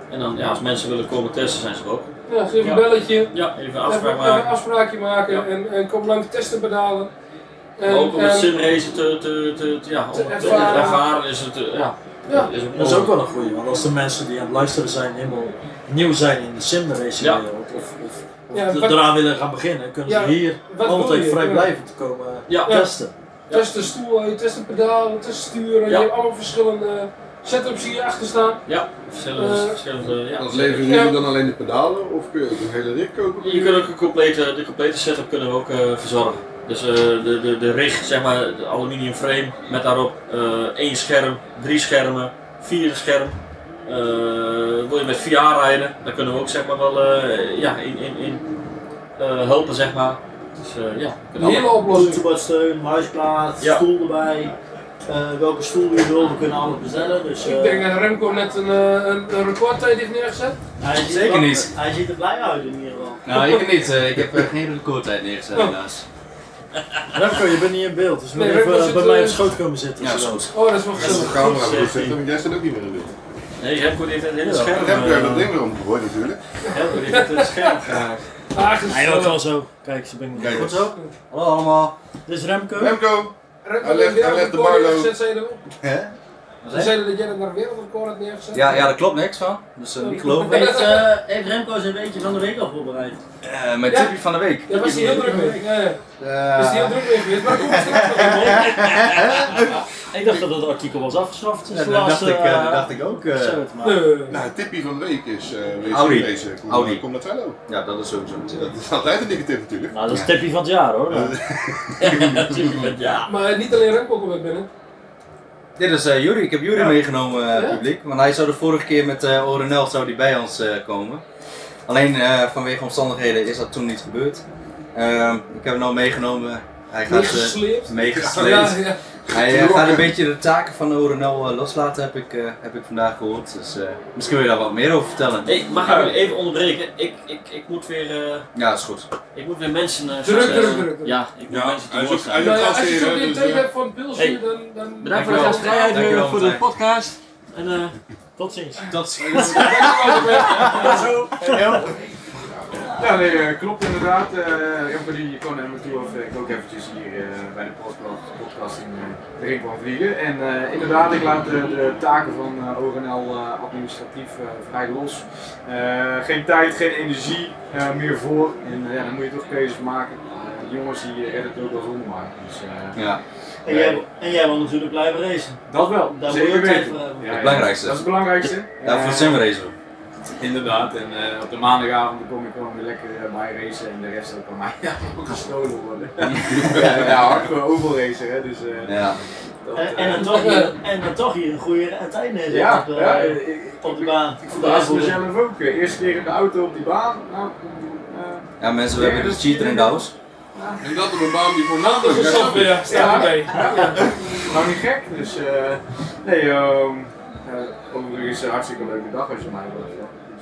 Speaker 8: En dan, ja, als mensen willen komen testen, zijn ze er ook.
Speaker 5: ja geef een
Speaker 8: Ja.
Speaker 5: belletje.
Speaker 8: Ja, even een
Speaker 5: Even,
Speaker 8: afspraak
Speaker 5: even een
Speaker 8: maken.
Speaker 5: afspraakje maken
Speaker 8: Ja.
Speaker 5: en, en kom langs testen bedalen.
Speaker 8: Maar ook om
Speaker 5: en- eh,
Speaker 8: het simracen te, te, te, te- ja, om
Speaker 5: Te
Speaker 8: het te
Speaker 5: ervaren.
Speaker 8: ervaren is het, eh, ja,
Speaker 5: Ja.
Speaker 8: is het
Speaker 7: Dat is ook wel een goeie, want als de mensen die aan het luisteren zijn helemaal nieuw zijn in de simracingwereld of, of, of
Speaker 5: Ja,
Speaker 7: er-
Speaker 5: wat-
Speaker 7: eraan willen gaan beginnen, kunnen
Speaker 5: Ja,
Speaker 7: ze hier
Speaker 5: wat wil
Speaker 7: altijd
Speaker 5: je?
Speaker 7: vrijblijvend komen
Speaker 8: Ja.
Speaker 7: testen.
Speaker 8: Ja.
Speaker 5: Test de stoel, eh, test de pedaal, test de sturen.
Speaker 8: Ja.
Speaker 5: Je hebt allemaal verschillende eh, setups die hier achter staan.
Speaker 8: Ja, verschillende,
Speaker 5: Eh,
Speaker 8: verschillende ja.
Speaker 6: Dat leveren jullie dan alleen de pedalen of kun je ook een hele rig kopen?
Speaker 8: Je kunt ook een complete, de complete setup kunnen we ook eh, verzorgen. Dus eh, de, de, de rig, zeg maar, de aluminium frame met daarop eh, één scherm, drie schermen, vier scherm. Eh, wil je met VR rijden, dan kunnen we ook zeg maar wel eh, ja, in, in, in eh, helpen zeg maar. Dus eh, ja, we
Speaker 5: Een
Speaker 8: kunnen
Speaker 5: hele
Speaker 8: allemaal-
Speaker 5: oplossing.
Speaker 9: Toetsenbordsteun, huisplaat,
Speaker 8: Ja.
Speaker 9: stoel erbij. Eh, welke stoel je wil, we kunnen alles bestellen. Dus, eh,
Speaker 5: Ik denk dat Remco net een, eh, een, een recordtijd heeft neergezet.
Speaker 9: hij ziet
Speaker 10: Zeker
Speaker 9: wel-
Speaker 10: niet.
Speaker 9: Hij ziet er blij uit in ieder geval.
Speaker 10: Nou, ik niet. eh, ik heb eh, geen recordtijd neergezet
Speaker 5: Oh.
Speaker 10: helaas.
Speaker 7: Remco, je bent niet in beeld, dus wil
Speaker 5: Nee,
Speaker 7: je
Speaker 5: Remco
Speaker 7: even
Speaker 5: zit,
Speaker 7: bij mij op
Speaker 5: eh,
Speaker 7: schoot komen zitten.
Speaker 10: Ja, is
Speaker 7: zodat-
Speaker 10: goed.
Speaker 5: Oh, dat is wel
Speaker 6: Als de
Speaker 5: gezellig.
Speaker 6: camera
Speaker 8: goed,
Speaker 6: goed
Speaker 8: zeg,
Speaker 6: [LAUGHS] zit, dan jij staat ook niet meer in beeld.
Speaker 8: Nee, Remco die heeft het hele scherm.
Speaker 6: Ik heb
Speaker 8: eh,
Speaker 6: weer dat ding weer omgegooid natuurlijk.
Speaker 8: Remco die heeft het scherm geraakt.
Speaker 5: Ah, gezellig.
Speaker 7: Hij loopt wel zo. Kijk, ze ben ik
Speaker 6: Kijk
Speaker 7: Goed
Speaker 6: eens.
Speaker 7: zo. Hallo allemaal, dit is Remco.
Speaker 6: Remco!
Speaker 5: Remco
Speaker 6: Hij
Speaker 5: heeft
Speaker 6: legt-
Speaker 5: weer
Speaker 6: hij
Speaker 5: een
Speaker 6: legt de
Speaker 5: recordtijd
Speaker 6: Barlow.
Speaker 5: neergezet, zei je dat ook?
Speaker 10: Hè?
Speaker 5: Ze zeiden dat jij dat naar wereldrecord had neergezet.
Speaker 10: Ja, ja, daar klopt niks van. Dus eh, niet geloven.
Speaker 5: [LAUGHS]
Speaker 9: Heeft, eh, heeft Remco zijn weetje van de week al voorbereid?
Speaker 10: Eh, mijn
Speaker 5: Ja.
Speaker 10: tipje van de week.
Speaker 5: Daar was hij heel druk mee. Ja, ja. Is hij heel druk mee geweest, maar kom straks nog even op.
Speaker 8: Ik dacht dat dat artikel was afgeschaft.
Speaker 10: Ja, dat dacht, ik, eh, dat dacht ik ook. eh.
Speaker 5: Nee.
Speaker 6: Nou, het tipje van de week is eh wees
Speaker 10: Audi.
Speaker 6: deze. Kom,
Speaker 10: Audi.
Speaker 6: kom naar Twello.
Speaker 10: ja, dat is sowieso een tip.
Speaker 6: Dat is altijd een dikke tip natuurlijk.
Speaker 7: Nou, dat is tipje van het jaar hoor. [LAUGHS]
Speaker 8: Ja.
Speaker 5: Maar niet alleen Remco komt er binnen.
Speaker 10: Dit is eh Jury. Ik heb Jury meegenomen, eh,
Speaker 5: Ja?
Speaker 10: publiek. Want hij zou de vorige keer met eh Orenel zou die bij ons eh, komen. Alleen eh, vanwege omstandigheden is dat toen niet gebeurd. Ehm, ik heb hem nou meegenomen. Hij gaat eh,
Speaker 5: Meegesleept.
Speaker 10: meegesleept.
Speaker 5: Ja, ja.
Speaker 10: Hij eh,
Speaker 6: Getrokken.
Speaker 10: gaat een beetje de taken van Orenel eh, loslaten, heb ik, eh, heb ik vandaag gehoord. Dus eh, misschien wil je daar wat meer over vertellen.
Speaker 8: Hey, mag ik jullie even onderbreken? Ik, ik, ik moet weer... eh,
Speaker 10: Ja, is goed.
Speaker 8: Ik moet weer mensen. eh,
Speaker 5: Druk,
Speaker 8: gaan
Speaker 5: druk,
Speaker 8: zetten.
Speaker 5: druk, druk.
Speaker 8: Ja, ik moet
Speaker 6: Ja,
Speaker 8: mensen te
Speaker 6: hij is
Speaker 8: woord
Speaker 6: ook-
Speaker 8: gaan.
Speaker 6: hij
Speaker 5: Nou ja, als je
Speaker 6: Gasten,
Speaker 5: zo
Speaker 6: eh,
Speaker 5: geen
Speaker 6: dus,
Speaker 5: tijd
Speaker 6: eh,
Speaker 5: hebt van pilsje,
Speaker 8: hey,
Speaker 5: dan... dan-
Speaker 8: Bedankt voor de
Speaker 10: Dankjewel.
Speaker 8: gastvrijheid, eh,
Speaker 10: Dankjewel,
Speaker 8: voor de
Speaker 10: Martijn.
Speaker 8: podcast. En eh,
Speaker 7: Tot ziens.
Speaker 10: Dat
Speaker 11: [LAUGHS]
Speaker 10: is
Speaker 11: Ja, nee, eh, klopt inderdaad. Eh Remco die kwam naar me toe of ik ook eventjes hier eh, bij de podcast, podcasting eh, erin kwam vliegen. En eh, inderdaad, ik laat de, de taken van eh, ORNL eh, administratief eh, vrij los. Eh, geen tijd, geen energie eh, meer voor. En eh, ja, dan moet je toch keuzes maken. Eh, de jongens die redden het ook wel zonder mij. Dus eh,
Speaker 10: Ja,
Speaker 9: En jij, en jij wil natuurlijk blijven racen.
Speaker 11: dat wel.
Speaker 9: Daar
Speaker 11: Zeker
Speaker 9: moet je ook tijd
Speaker 11: weten.
Speaker 9: voor hebben.
Speaker 11: Ja, ja.
Speaker 10: het belangrijkste.
Speaker 11: Dat is het belangrijkste.
Speaker 10: Daarvoor
Speaker 11: Eh,
Speaker 10: zijn we deze.
Speaker 11: Inderdaad, en eh, op de maandagavond dan kom ik gewoon weer lekker eh, bij racen en de rest ook aan mij [LAUGHS] Ja, ook gestolen worden. [LAUGHS] ja, ja, hardcore overal racen, hè, dus eh,
Speaker 10: Ja.
Speaker 11: dat,
Speaker 9: En,
Speaker 11: eh,
Speaker 9: en, dan toch
Speaker 11: [LAUGHS]
Speaker 9: hier, en dan toch hier een goede tijd neerzetten
Speaker 11: ja,
Speaker 9: op, de-
Speaker 11: ja, ik, ik,
Speaker 9: op de baan.
Speaker 11: ik
Speaker 9: Op de
Speaker 11: verbaasde
Speaker 9: uitvoering.
Speaker 11: mezelf ook. eh, Eerste keer in de auto op die baan, nou, eh,
Speaker 10: ja, mensen, we hebben de cheater in de house.
Speaker 6: En dat op een baan die
Speaker 5: Dat is een
Speaker 6: voornamelijk
Speaker 5: software, ja, staat
Speaker 11: Ja.
Speaker 5: erbij.
Speaker 11: nou niet gek, dus eh, nee, ehm, eh, overigens een hartstikke leuke dag als je mij wilt.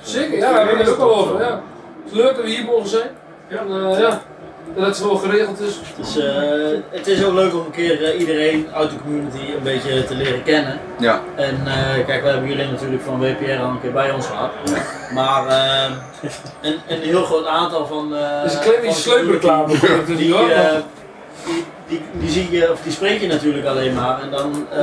Speaker 5: Zeker, ja, daar ben ik ook al over. Ja. Het is leuk dat we hier mogen zijn. En, eh, ja. Dat het zo geregeld is.
Speaker 9: Dus eh, het is ook leuk om een keer eh, iedereen uit de community een beetje te leren kennen.
Speaker 10: Ja.
Speaker 9: En eh, kijk, we hebben jullie natuurlijk van WPR al een keer bij ons gehad. Maar eh, een, een heel groot aantal van. eh,
Speaker 5: Het is een klein beetje
Speaker 9: van de community,
Speaker 5: sleupreclame. komt er
Speaker 9: Die,
Speaker 5: niet hoor.
Speaker 9: eh, die, die, die zie je, of die spreek je natuurlijk alleen maar. En dan eh,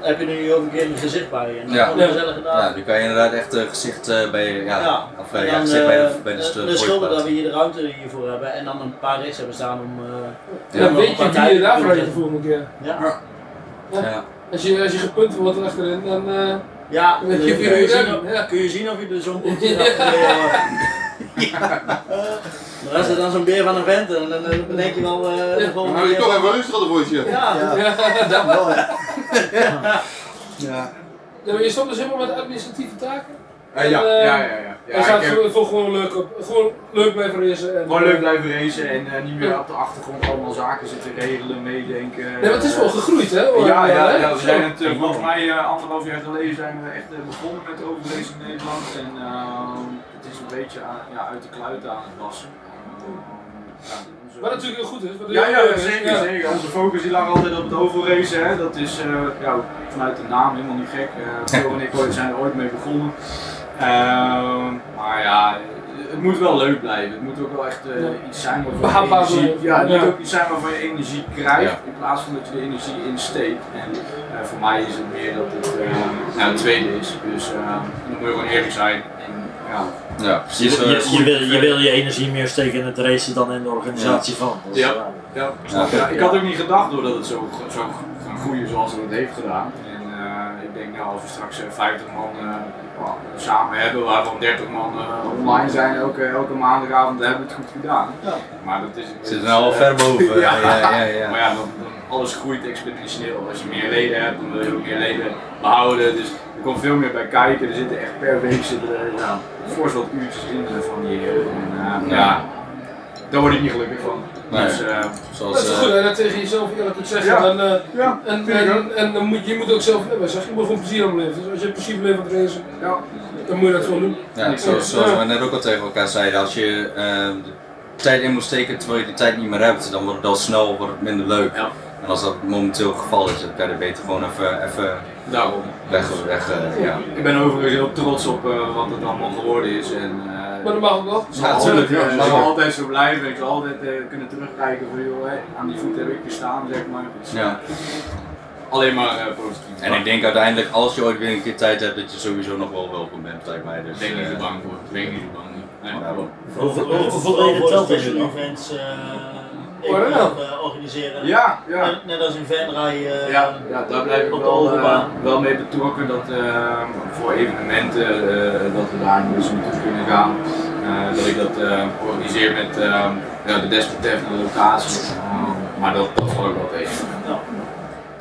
Speaker 9: heb je er nu ook een keer een gezicht bij. En dat
Speaker 10: Ja.
Speaker 9: is gewoon een gezellige
Speaker 10: Ja,
Speaker 9: dag.
Speaker 10: nu kan je inderdaad echt eh, gezicht eh, bij, ja,
Speaker 9: Ja.
Speaker 10: Of, eh,
Speaker 9: En
Speaker 10: ja,
Speaker 9: dan,
Speaker 10: gezicht bij de,
Speaker 9: eh,
Speaker 10: bij de,
Speaker 9: eh,
Speaker 10: stu-
Speaker 9: de schulden dat
Speaker 10: voorplaat.
Speaker 9: we hier de ruimte hiervoor hebben en dan een paar rigs hebben staan om. eh,
Speaker 5: En dan
Speaker 9: om
Speaker 5: weet je
Speaker 9: een
Speaker 5: wie je daarvoor
Speaker 9: partij-
Speaker 5: uit de volgende keer.
Speaker 9: Ja.
Speaker 10: Ja.
Speaker 5: Als je, als je gepunt wordt achterin, dan. eh,
Speaker 9: Ja,
Speaker 5: Dan geef je
Speaker 9: kun,
Speaker 5: weer
Speaker 9: je
Speaker 5: rem,
Speaker 9: zien of,
Speaker 5: ja.
Speaker 9: eh, kun je zien of je er zo'n boekje
Speaker 5: Ja.
Speaker 9: ja. Maar als er dan zo'n beer van een vent en dan eh, denk je wel eh de
Speaker 6: Dan
Speaker 9: volgende
Speaker 6: hou je
Speaker 9: keer
Speaker 6: toch
Speaker 9: van-
Speaker 6: even rustig aan de woordje.
Speaker 9: Ja,
Speaker 7: Ja.
Speaker 5: ja.
Speaker 7: wel, hè. Ja.
Speaker 5: Ja, maar je stond dus helemaal met administratieve taken.
Speaker 11: Eh, ja,
Speaker 5: En,
Speaker 11: ja,
Speaker 5: eh,
Speaker 11: ja, ja. Ja,
Speaker 5: en staat
Speaker 11: ik heb-
Speaker 5: voor gewoon leuk op. Gewoon leuk blijven racen. En,
Speaker 11: Gewoon leuk blijven racen en eh, niet meer op de achtergrond allemaal zaken zitten regelen, meedenken.
Speaker 5: Nee, maar het is wel gegroeid, hè?
Speaker 11: Ja, ja, ja,
Speaker 5: Hè?
Speaker 11: we zijn het, eh, volgens mij eh, anderhalf jaar geleden zijn we echt eh, begonnen met overlezen in Nederland. En ehm, het is een beetje aan- ja, uit de kluiten aan het wassen. Ja, onze-
Speaker 5: Wat natuurlijk heel goed is. wat
Speaker 11: ja,
Speaker 5: heel
Speaker 11: ja,
Speaker 5: leuk is.
Speaker 11: zeker,
Speaker 5: Ja.
Speaker 11: zeker. Onze focus die lag altijd op het overracen. Hè. Dat is eh, ja, vanuit de naam helemaal niet gek. Eh Theo en ik ooit- zijn er ooit mee begonnen. Ehm, maar ja, het moet wel leuk blijven. Het moet ook wel echt eh,
Speaker 5: Ja.
Speaker 11: iets zijn waarvan je
Speaker 5: Behapbaar
Speaker 11: energie,
Speaker 5: blijven.
Speaker 11: ja, het moet
Speaker 5: Ja.
Speaker 11: ook iets zijn waarvan je energie krijgt.
Speaker 6: Ja.
Speaker 11: In plaats van dat je de energie insteekt. En eh, voor mij is het meer dat het eh, nou, het tweede is. Dus eh, dan moet je gewoon eerlijk zijn. En, ja.
Speaker 10: Ja,
Speaker 7: Je,
Speaker 10: precies.
Speaker 7: je,
Speaker 10: eh,
Speaker 7: je wil, je wil je energie meer steken in het racen dan in de organisatie van. Dus,
Speaker 11: Ja.
Speaker 7: eh,
Speaker 11: Ja, snap je. ik had ook niet gedacht doordat het zo, zo gaan groeien zoals het het heeft gedaan. En eh, ik denk nou, als we straks eh, 50 man eh, wel, samen hebben, waarvan 30 man eh, online zijn elke, elke maandagavond, dan hebben we het goed gedaan. Maar dat is...
Speaker 10: Zit er nou al
Speaker 11: eh,
Speaker 10: ver
Speaker 11: [LAUGHS]
Speaker 10: boven.
Speaker 11: ja.
Speaker 10: Ja, ja, ja.
Speaker 11: Maar ja, dan, dan- alles groeit exponentieel. Als je meer leden hebt, dan wil je ook meer leden behouden. Dus er komt veel meer bij kijken. Er zitten echt per week zitten er, ja, fors wat uurtjes in eh, van die... eh, en, eh,
Speaker 10: Ja.
Speaker 11: ja, daar word ik niet gelukkig van.
Speaker 10: Nee.
Speaker 11: Dus, eh,
Speaker 10: Zoals,
Speaker 5: Dat is
Speaker 10: eh,
Speaker 5: goed, hè? Dat tegen jezelf eerlijk moet zeggen.
Speaker 11: Ja.
Speaker 5: En, eh,
Speaker 11: Ja,
Speaker 5: en,
Speaker 11: vind ik ook.
Speaker 5: en, en dan moet, je moet ook zelf hebben, zeg. Je moet gewoon plezier aan beleven. Dus als je plezier beleeft aan het racen,
Speaker 11: Ja.
Speaker 5: dan moet je dat gewoon doen.
Speaker 10: Ja, zoals,
Speaker 5: Ja.
Speaker 10: zoals we net ook al tegen elkaar zeiden, als je ehm, de tijd in moet steken terwijl je de tijd niet meer hebt, dan wordt het al snel wordt het minder leuk.
Speaker 11: Ja.
Speaker 10: En als dat momenteel het geval is, dan kan je het beter gewoon even, even
Speaker 11: Daarom.
Speaker 10: weg. weg eh, ja.
Speaker 11: Ik ben overigens heel trots op eh, wat het allemaal geworden is. En, eh,
Speaker 5: Maar dat mag ook wel.
Speaker 11: het zal
Speaker 10: Ja,
Speaker 11: altijd,
Speaker 10: tuurlijk, ja,
Speaker 11: het zal
Speaker 10: zeker.
Speaker 11: altijd zo blijven. Ik zal altijd eh, kunnen terugkijken van joh, hè, aan die voet heb ik gestaan, zeg maar. Dus,
Speaker 10: Ja.
Speaker 11: Alleen maar eh, positief.
Speaker 10: En ik denk uiteindelijk, als je ooit weer een keer tijd hebt, dat je sowieso nog wel welkom bent, lijkt mij. Dus,
Speaker 11: Ik ben niet te
Speaker 10: eh,
Speaker 11: bang voor. Ik ben niet te bang. Nee,
Speaker 10: daarom.
Speaker 7: Hoeveel hoeveel leden telt dat
Speaker 9: special
Speaker 7: jullie?
Speaker 9: events eh,
Speaker 5: Oordeel.
Speaker 9: eh, organiseren?
Speaker 11: Ja, ja.
Speaker 9: Net, net als in Venray. eh,
Speaker 11: Ja, ja, daar blijf ik
Speaker 9: Op de
Speaker 11: wel, eh,
Speaker 9: openbaan.
Speaker 11: wel mee betrokken dat eh, voor evenementen eh, dat we daar dus naartoe kunnen gaan. Eh, dat ik dat eh, organiseer met eh, ja, de desbetreffende locatie. Eh, maar dat, dat zal ik wel tegen.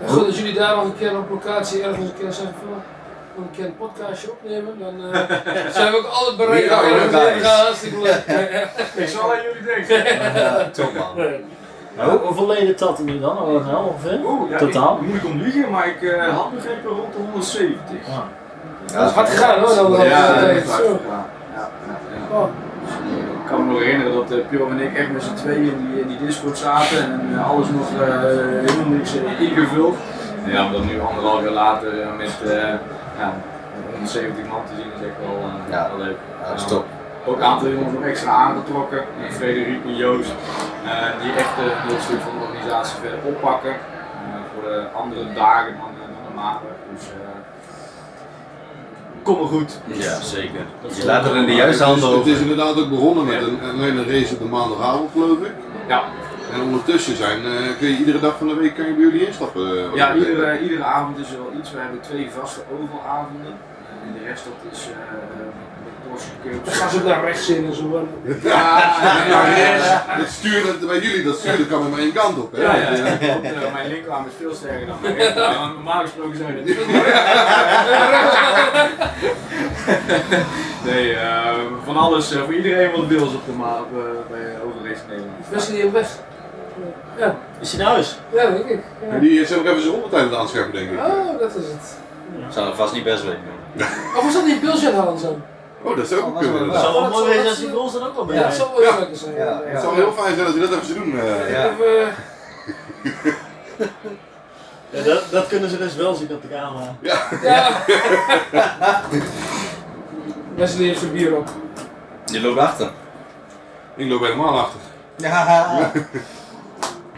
Speaker 5: En goed, als jullie daar nog een keer op locatie ergens een keer zeggen van... "Nou, wil een keer een podcastje opnemen, dan
Speaker 7: [LAUGHS]
Speaker 5: eh, [LAUGHS] zijn we ook altijd bereid.
Speaker 10: We are
Speaker 5: om ergens
Speaker 10: your
Speaker 5: heen te gaan.
Speaker 10: guys.
Speaker 5: Hartstikke leuk.
Speaker 11: Ik zal aan jullie
Speaker 5: [LAUGHS]
Speaker 11: denken.
Speaker 10: Ja, top man.
Speaker 7: Hoe- hoeveel leden telt er nu dan? Oh, nou, ongeveer?
Speaker 11: Oeh, ja,
Speaker 7: Totaal?
Speaker 11: Ik, moeilijk om liegen, maar ik eh, had begrepen rond de 170.
Speaker 7: Ja.
Speaker 5: Dat is hard gegaan hoor, dan
Speaker 11: Ja,
Speaker 5: ja,
Speaker 11: dat is waar.
Speaker 5: zo.
Speaker 11: Ja, ja, ja.
Speaker 5: Oh,
Speaker 11: Ik kan me nog herinneren dat eh Pio en ik echt met z'n tweeën in die, in die Discord zaten en eh, alles nog eh, helemaal niks eh, ingevuld. Ja, maar dat nu anderhalf jaar later eh, met eh, ja, 170 man te zien is echt wel, eh,
Speaker 10: Ja.
Speaker 11: wel leuk.
Speaker 10: Ja, is top.
Speaker 11: Ook een aantal jongens nog extra aangetrokken, eh, Frederik en Joost, eh, die echt eh, dat stuk van de organisatie verder oppakken. eh, voor de andere dagen dan, eh, dan de maandag. Dus, eh, kom maar goed.
Speaker 10: Ja, zeker. Je laat er in de juiste
Speaker 6: het, is,
Speaker 10: handen
Speaker 6: het
Speaker 10: over.
Speaker 6: is inderdaad ook begonnen met een, alleen een race op de maandagavond, geloof ik.
Speaker 11: Ja.
Speaker 6: En ondertussen zijn, eh, kun je iedere dag van de week kan je bij jullie instappen. eh, wat
Speaker 11: Ja,
Speaker 6: dat betreft.
Speaker 11: iedere, iedere avond is er wel iets. We hebben twee vaste ovalavonden. En de rest dat is eh met Porsche
Speaker 5: dan
Speaker 11: Cups.
Speaker 5: gaan ze ook naar rechts in en zo. hè.
Speaker 6: Ja, ja, ja. Dat sturen, bij jullie, dat sturen kan maar één kant op. Hè?
Speaker 11: Ja, ja, ja. klopt. Eh, Mijn linkerarm is veel sterker dan mijn rechterarm. Normaal gesproken zijn het [LAUGHS] Nee, eh, van alles. eh, voor iedereen wat wil is op de maat bij eh, Overrace Nederland.
Speaker 5: Best niet op weg. Ja,
Speaker 9: Is hij nou eens?
Speaker 5: ja, denk ik. Ja.
Speaker 6: En Die zijn nog even zijn ondertijd aan het aanscherpen, denk ik.
Speaker 5: Oh, dat is het.
Speaker 10: Zou dat vast niet best weten.
Speaker 5: Of was dat die Bilsjet halen zo?
Speaker 6: Oh, dat zou ook kunnen.
Speaker 9: Het
Speaker 6: inderdaad.
Speaker 9: zou wel
Speaker 5: dat
Speaker 9: mooi
Speaker 5: zou-
Speaker 9: zijn als hij voor ons dan ook al bij
Speaker 5: Ja, dat
Speaker 9: is.
Speaker 5: zou wel
Speaker 6: Ja.
Speaker 5: heel lekker zijn.
Speaker 10: Ja,
Speaker 6: Het zou heel fijn zijn als je dat even zou doen. eh.
Speaker 10: Ja.
Speaker 5: Of, eh,
Speaker 9: Ja, dat, dat kunnen ze dus wel zien op de camera.
Speaker 5: ja.
Speaker 11: [LAUGHS]
Speaker 5: Wesley heeft zijn bier op.
Speaker 10: Je loopt achter.
Speaker 6: Ik loop helemaal achter.
Speaker 10: Ja.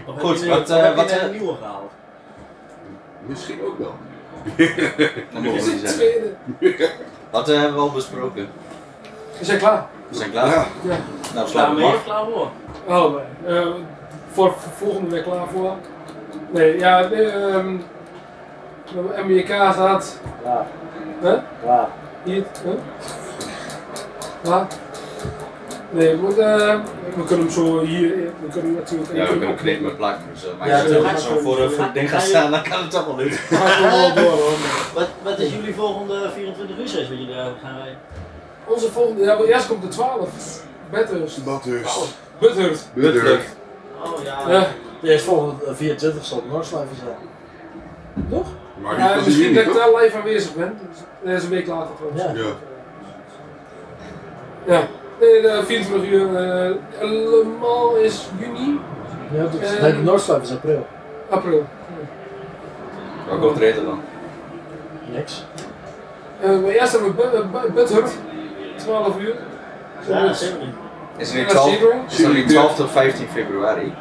Speaker 9: Of
Speaker 10: Goed,
Speaker 9: heb je-
Speaker 10: wat,
Speaker 9: of
Speaker 10: eh,
Speaker 9: heb je
Speaker 10: wat,
Speaker 9: net
Speaker 10: eh,
Speaker 9: een nieuwe gehaald?
Speaker 6: Misschien ook wel.
Speaker 10: Dat mogen
Speaker 5: Is
Speaker 10: we
Speaker 5: het
Speaker 10: niet
Speaker 5: de
Speaker 10: zeggen.
Speaker 5: tweede?
Speaker 10: Wat eh, hebben we al besproken?
Speaker 5: We zijn klaar.
Speaker 10: We zijn klaar.
Speaker 6: Ja.
Speaker 5: Ja.
Speaker 10: Nou,
Speaker 9: Klaar
Speaker 10: slaan we
Speaker 9: mee
Speaker 10: hem
Speaker 9: of
Speaker 10: af.
Speaker 9: klaar voor?
Speaker 5: Allebei. Eh, voor voor volgende week klaar voor. Nee, ja, nee, ehm, we hebben MBK gehad.
Speaker 7: Klaar.
Speaker 5: Huh?
Speaker 7: Klaar.
Speaker 5: Hier, hè? Waar? Nee, we, eh, we kunnen hem zo hier, eh, we kunnen hem natuurlijk...
Speaker 10: Ja, we kunnen knippen met plakken. Dus, eh, maar
Speaker 7: Ja,
Speaker 10: als je
Speaker 7: dat
Speaker 10: er
Speaker 7: gaat
Speaker 10: zo voor, eh, voor het ding gaat
Speaker 9: Ga je-
Speaker 10: staan, dan kan het toch wel lukken.
Speaker 5: We gaan wel door hoor.
Speaker 2: eh,
Speaker 9: Wat, wat is jullie volgende 24 uur race wat jullie daar gaan rijden?
Speaker 5: Onze volgende, ja, maar eerst komt de 12. Bathurst.
Speaker 6: Bathurst.
Speaker 5: Oh, Buthurst.
Speaker 6: Buthurst.
Speaker 2: Oh ja.
Speaker 5: Ja.
Speaker 7: De volgende 24 zal Noordslijven zijn.
Speaker 5: Toch?
Speaker 6: Maar die
Speaker 5: Ja, dus
Speaker 6: was in
Speaker 5: misschien
Speaker 6: juni,
Speaker 5: dat ik
Speaker 6: toch?
Speaker 5: daar live aanwezig ben. Dus Dat is een week later trouwens.
Speaker 7: Ja.
Speaker 6: Ja.
Speaker 5: Ja. Nee, de 24 uur. eh, Le Mans is juni,
Speaker 7: Ja, dat is,
Speaker 5: Eh,
Speaker 7: nee, de Noordslijven is april.
Speaker 5: april.
Speaker 10: Waar komt er dan?
Speaker 7: Niks.
Speaker 5: Eh, maar eerst hebben we Bu- eh, Bu- Buthurst. 12 uur.
Speaker 2: Ja, zeker.
Speaker 10: Is er niet
Speaker 5: Ja,
Speaker 10: 12,
Speaker 5: zeker.
Speaker 10: is er niet 12 tot 15 februari?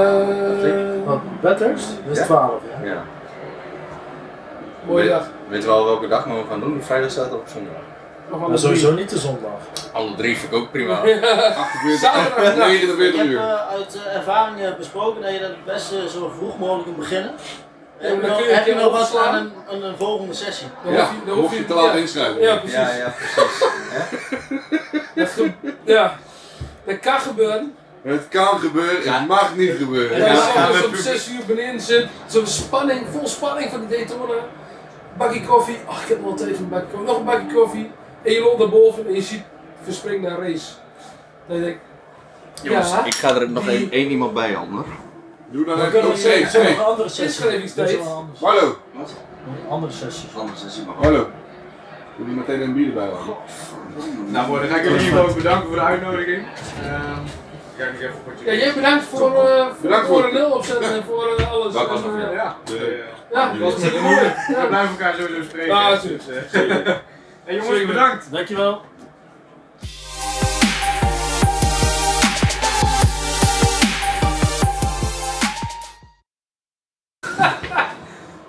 Speaker 5: Eh
Speaker 7: Wat, Bathurst? Dat is
Speaker 10: Ja.
Speaker 7: 12, ja.
Speaker 10: Ja.
Speaker 5: mooie dag.
Speaker 10: Weet wel welke dag we gaan doen? Vrijdag, zaterdag of zondag?
Speaker 5: Nog wel
Speaker 7: Maar
Speaker 5: een
Speaker 7: sowieso niet de zondag.
Speaker 10: Alle drie vind ik ook prima. [LAUGHS]
Speaker 6: 48, 49
Speaker 2: Ik heb
Speaker 6: uur.
Speaker 2: eh, uit eh, ervaring eh, besproken dat je dat het beste zo vroeg mogelijk moet beginnen.
Speaker 5: maar
Speaker 2: Heb je
Speaker 5: dan
Speaker 2: nog-
Speaker 5: kun je
Speaker 2: heb je
Speaker 5: het
Speaker 2: nog wat
Speaker 5: overslaan.
Speaker 2: aan een, aan een volgende sessie?
Speaker 5: Dan
Speaker 6: Ja,
Speaker 5: hoef dan hoef
Speaker 6: mocht je te laat inschrijven.
Speaker 5: Ja, precies.
Speaker 10: Ja, ja, precies.
Speaker 5: [LAUGHS] Dat, ge- ja. dat kan gebeuren.
Speaker 6: Het kan gebeuren, het mag niet gebeuren.
Speaker 5: En als
Speaker 10: Ja, gaan
Speaker 5: je
Speaker 10: we
Speaker 5: om
Speaker 10: pub-
Speaker 5: 6 uur beneden zit, zo'n spanning, vol spanning van die Daytona. Bakje koffie, ach ik heb nog tijd voor een bakje koffie, nog een bakje koffie. En je loopt naar boven en je ziet verspringt naar race. Dan denk ik,
Speaker 10: Jongens,
Speaker 5: ja,
Speaker 10: ik ga er nog
Speaker 5: Die-
Speaker 10: één, één iemand bij, Ander.
Speaker 6: Doe dan
Speaker 7: We
Speaker 6: even
Speaker 7: kunnen
Speaker 6: nog
Speaker 7: hier
Speaker 6: steeds.
Speaker 7: sommige
Speaker 6: Hey,
Speaker 7: andere sessies.
Speaker 5: Inschrijvingstijd.
Speaker 7: Dat is wel anders.
Speaker 6: hallo,
Speaker 7: Een Andere sessies.
Speaker 10: Anders is hij maar gewoon.
Speaker 6: hallo. Doe die meteen een bier erbij houden.
Speaker 11: Nou, mooi, dan ga ik jullie hier ook bedanken voor de uitnodiging. Ehm ik ga nog even wat
Speaker 5: ja,
Speaker 11: je.
Speaker 5: jij bedankt voor, eh voor
Speaker 6: Bedankt
Speaker 5: bedankt
Speaker 6: voor-
Speaker 5: voor de nul opzetten en voor eh, alles.
Speaker 6: Dat was
Speaker 5: En,
Speaker 6: nog,
Speaker 5: eh,
Speaker 11: Ja,
Speaker 6: De-
Speaker 11: eh,
Speaker 5: ja,
Speaker 11: dat
Speaker 5: was
Speaker 11: was met de moeder. We blijven elkaar sowieso spreken.
Speaker 5: Ja, natuurlijk.
Speaker 11: Dus, eh, hey, jongens, bedankt.
Speaker 2: Dankjewel.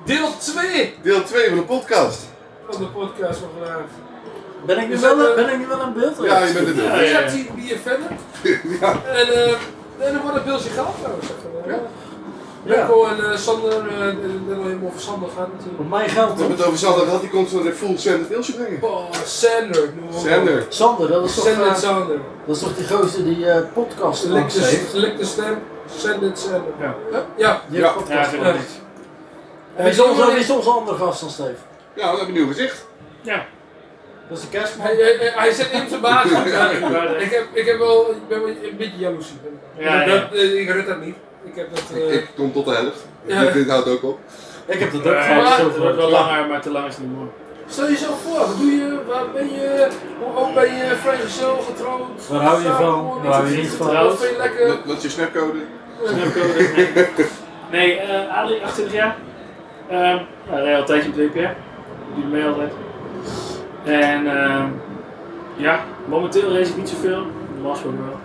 Speaker 5: Deel 2
Speaker 6: Deel 2 van de podcast.
Speaker 5: van de podcast eh, van vandaag.
Speaker 7: Ben ik nu
Speaker 5: Is
Speaker 7: wel,
Speaker 5: dat, eh,
Speaker 7: ben ik nu wel in beeld?
Speaker 6: Ja, je bent er weer.
Speaker 5: Dan gaat hij hier
Speaker 6: [LAUGHS]
Speaker 5: verder. En, eh, en dan wordt een beeldje geld trouwens. Ja. Remco en eh, Sander, eh, ik denk dat we helemaal over Sander gaan natuurlijk.
Speaker 7: Op mijn geld
Speaker 6: We hebben
Speaker 7: hoor.
Speaker 6: het over Sander gehad, die komt zo naar Full Sender Pilsje brengen.
Speaker 5: Oh, Sander. noem maar op.
Speaker 6: Sander.
Speaker 7: Sander, dat is toch,
Speaker 5: Send
Speaker 7: eh,
Speaker 5: it Sander.
Speaker 7: dat is toch die gozer die eh, podcast
Speaker 5: Lik
Speaker 7: langs
Speaker 5: de,
Speaker 7: heeft?
Speaker 5: lik de stem. Send it Sander.
Speaker 11: Ja.
Speaker 5: Huh? Ja.
Speaker 7: Die heeft
Speaker 6: Ja.
Speaker 7: podcast
Speaker 5: Ja.
Speaker 7: langs. En wie is
Speaker 5: Eh,
Speaker 7: onze, wie is onze andere gast dan Steve?
Speaker 6: Ja, we hebben een nieuw gezicht.
Speaker 7: Dat is de kerstman.
Speaker 5: Hij, hij, hij- hij zit in zijn baas. ik, heb, ik, heb wel, ik ben wel een beetje jaloezie.
Speaker 2: Ja,
Speaker 5: Dat- eh, ik red dat niet. Ik heb dat... eh,
Speaker 6: Ik kom tot de helft.
Speaker 5: Ja.
Speaker 6: Dit- Dit houdt ook op.
Speaker 7: Ik heb dat ook
Speaker 5: maar-
Speaker 7: gedaan.
Speaker 2: langer, maar te lang is niet mooi.
Speaker 5: Stel jezelf voor, wat doe je, waar ben je, hoe oud ben je, vrijgezel, getrouwd?
Speaker 7: Waar hou je van?
Speaker 5: samenwonen,
Speaker 7: Waar hou je niet van?
Speaker 5: Wat vind je lekker?
Speaker 6: Wat- Wat is je snapcode?
Speaker 2: Nee, eh Ali, 28 jaar. Ehm nou, hij al een tijdje op de WPR. Die mee altijd. En ehm ja, momenteel race ik niet zoveel. Normaal gesproken wel.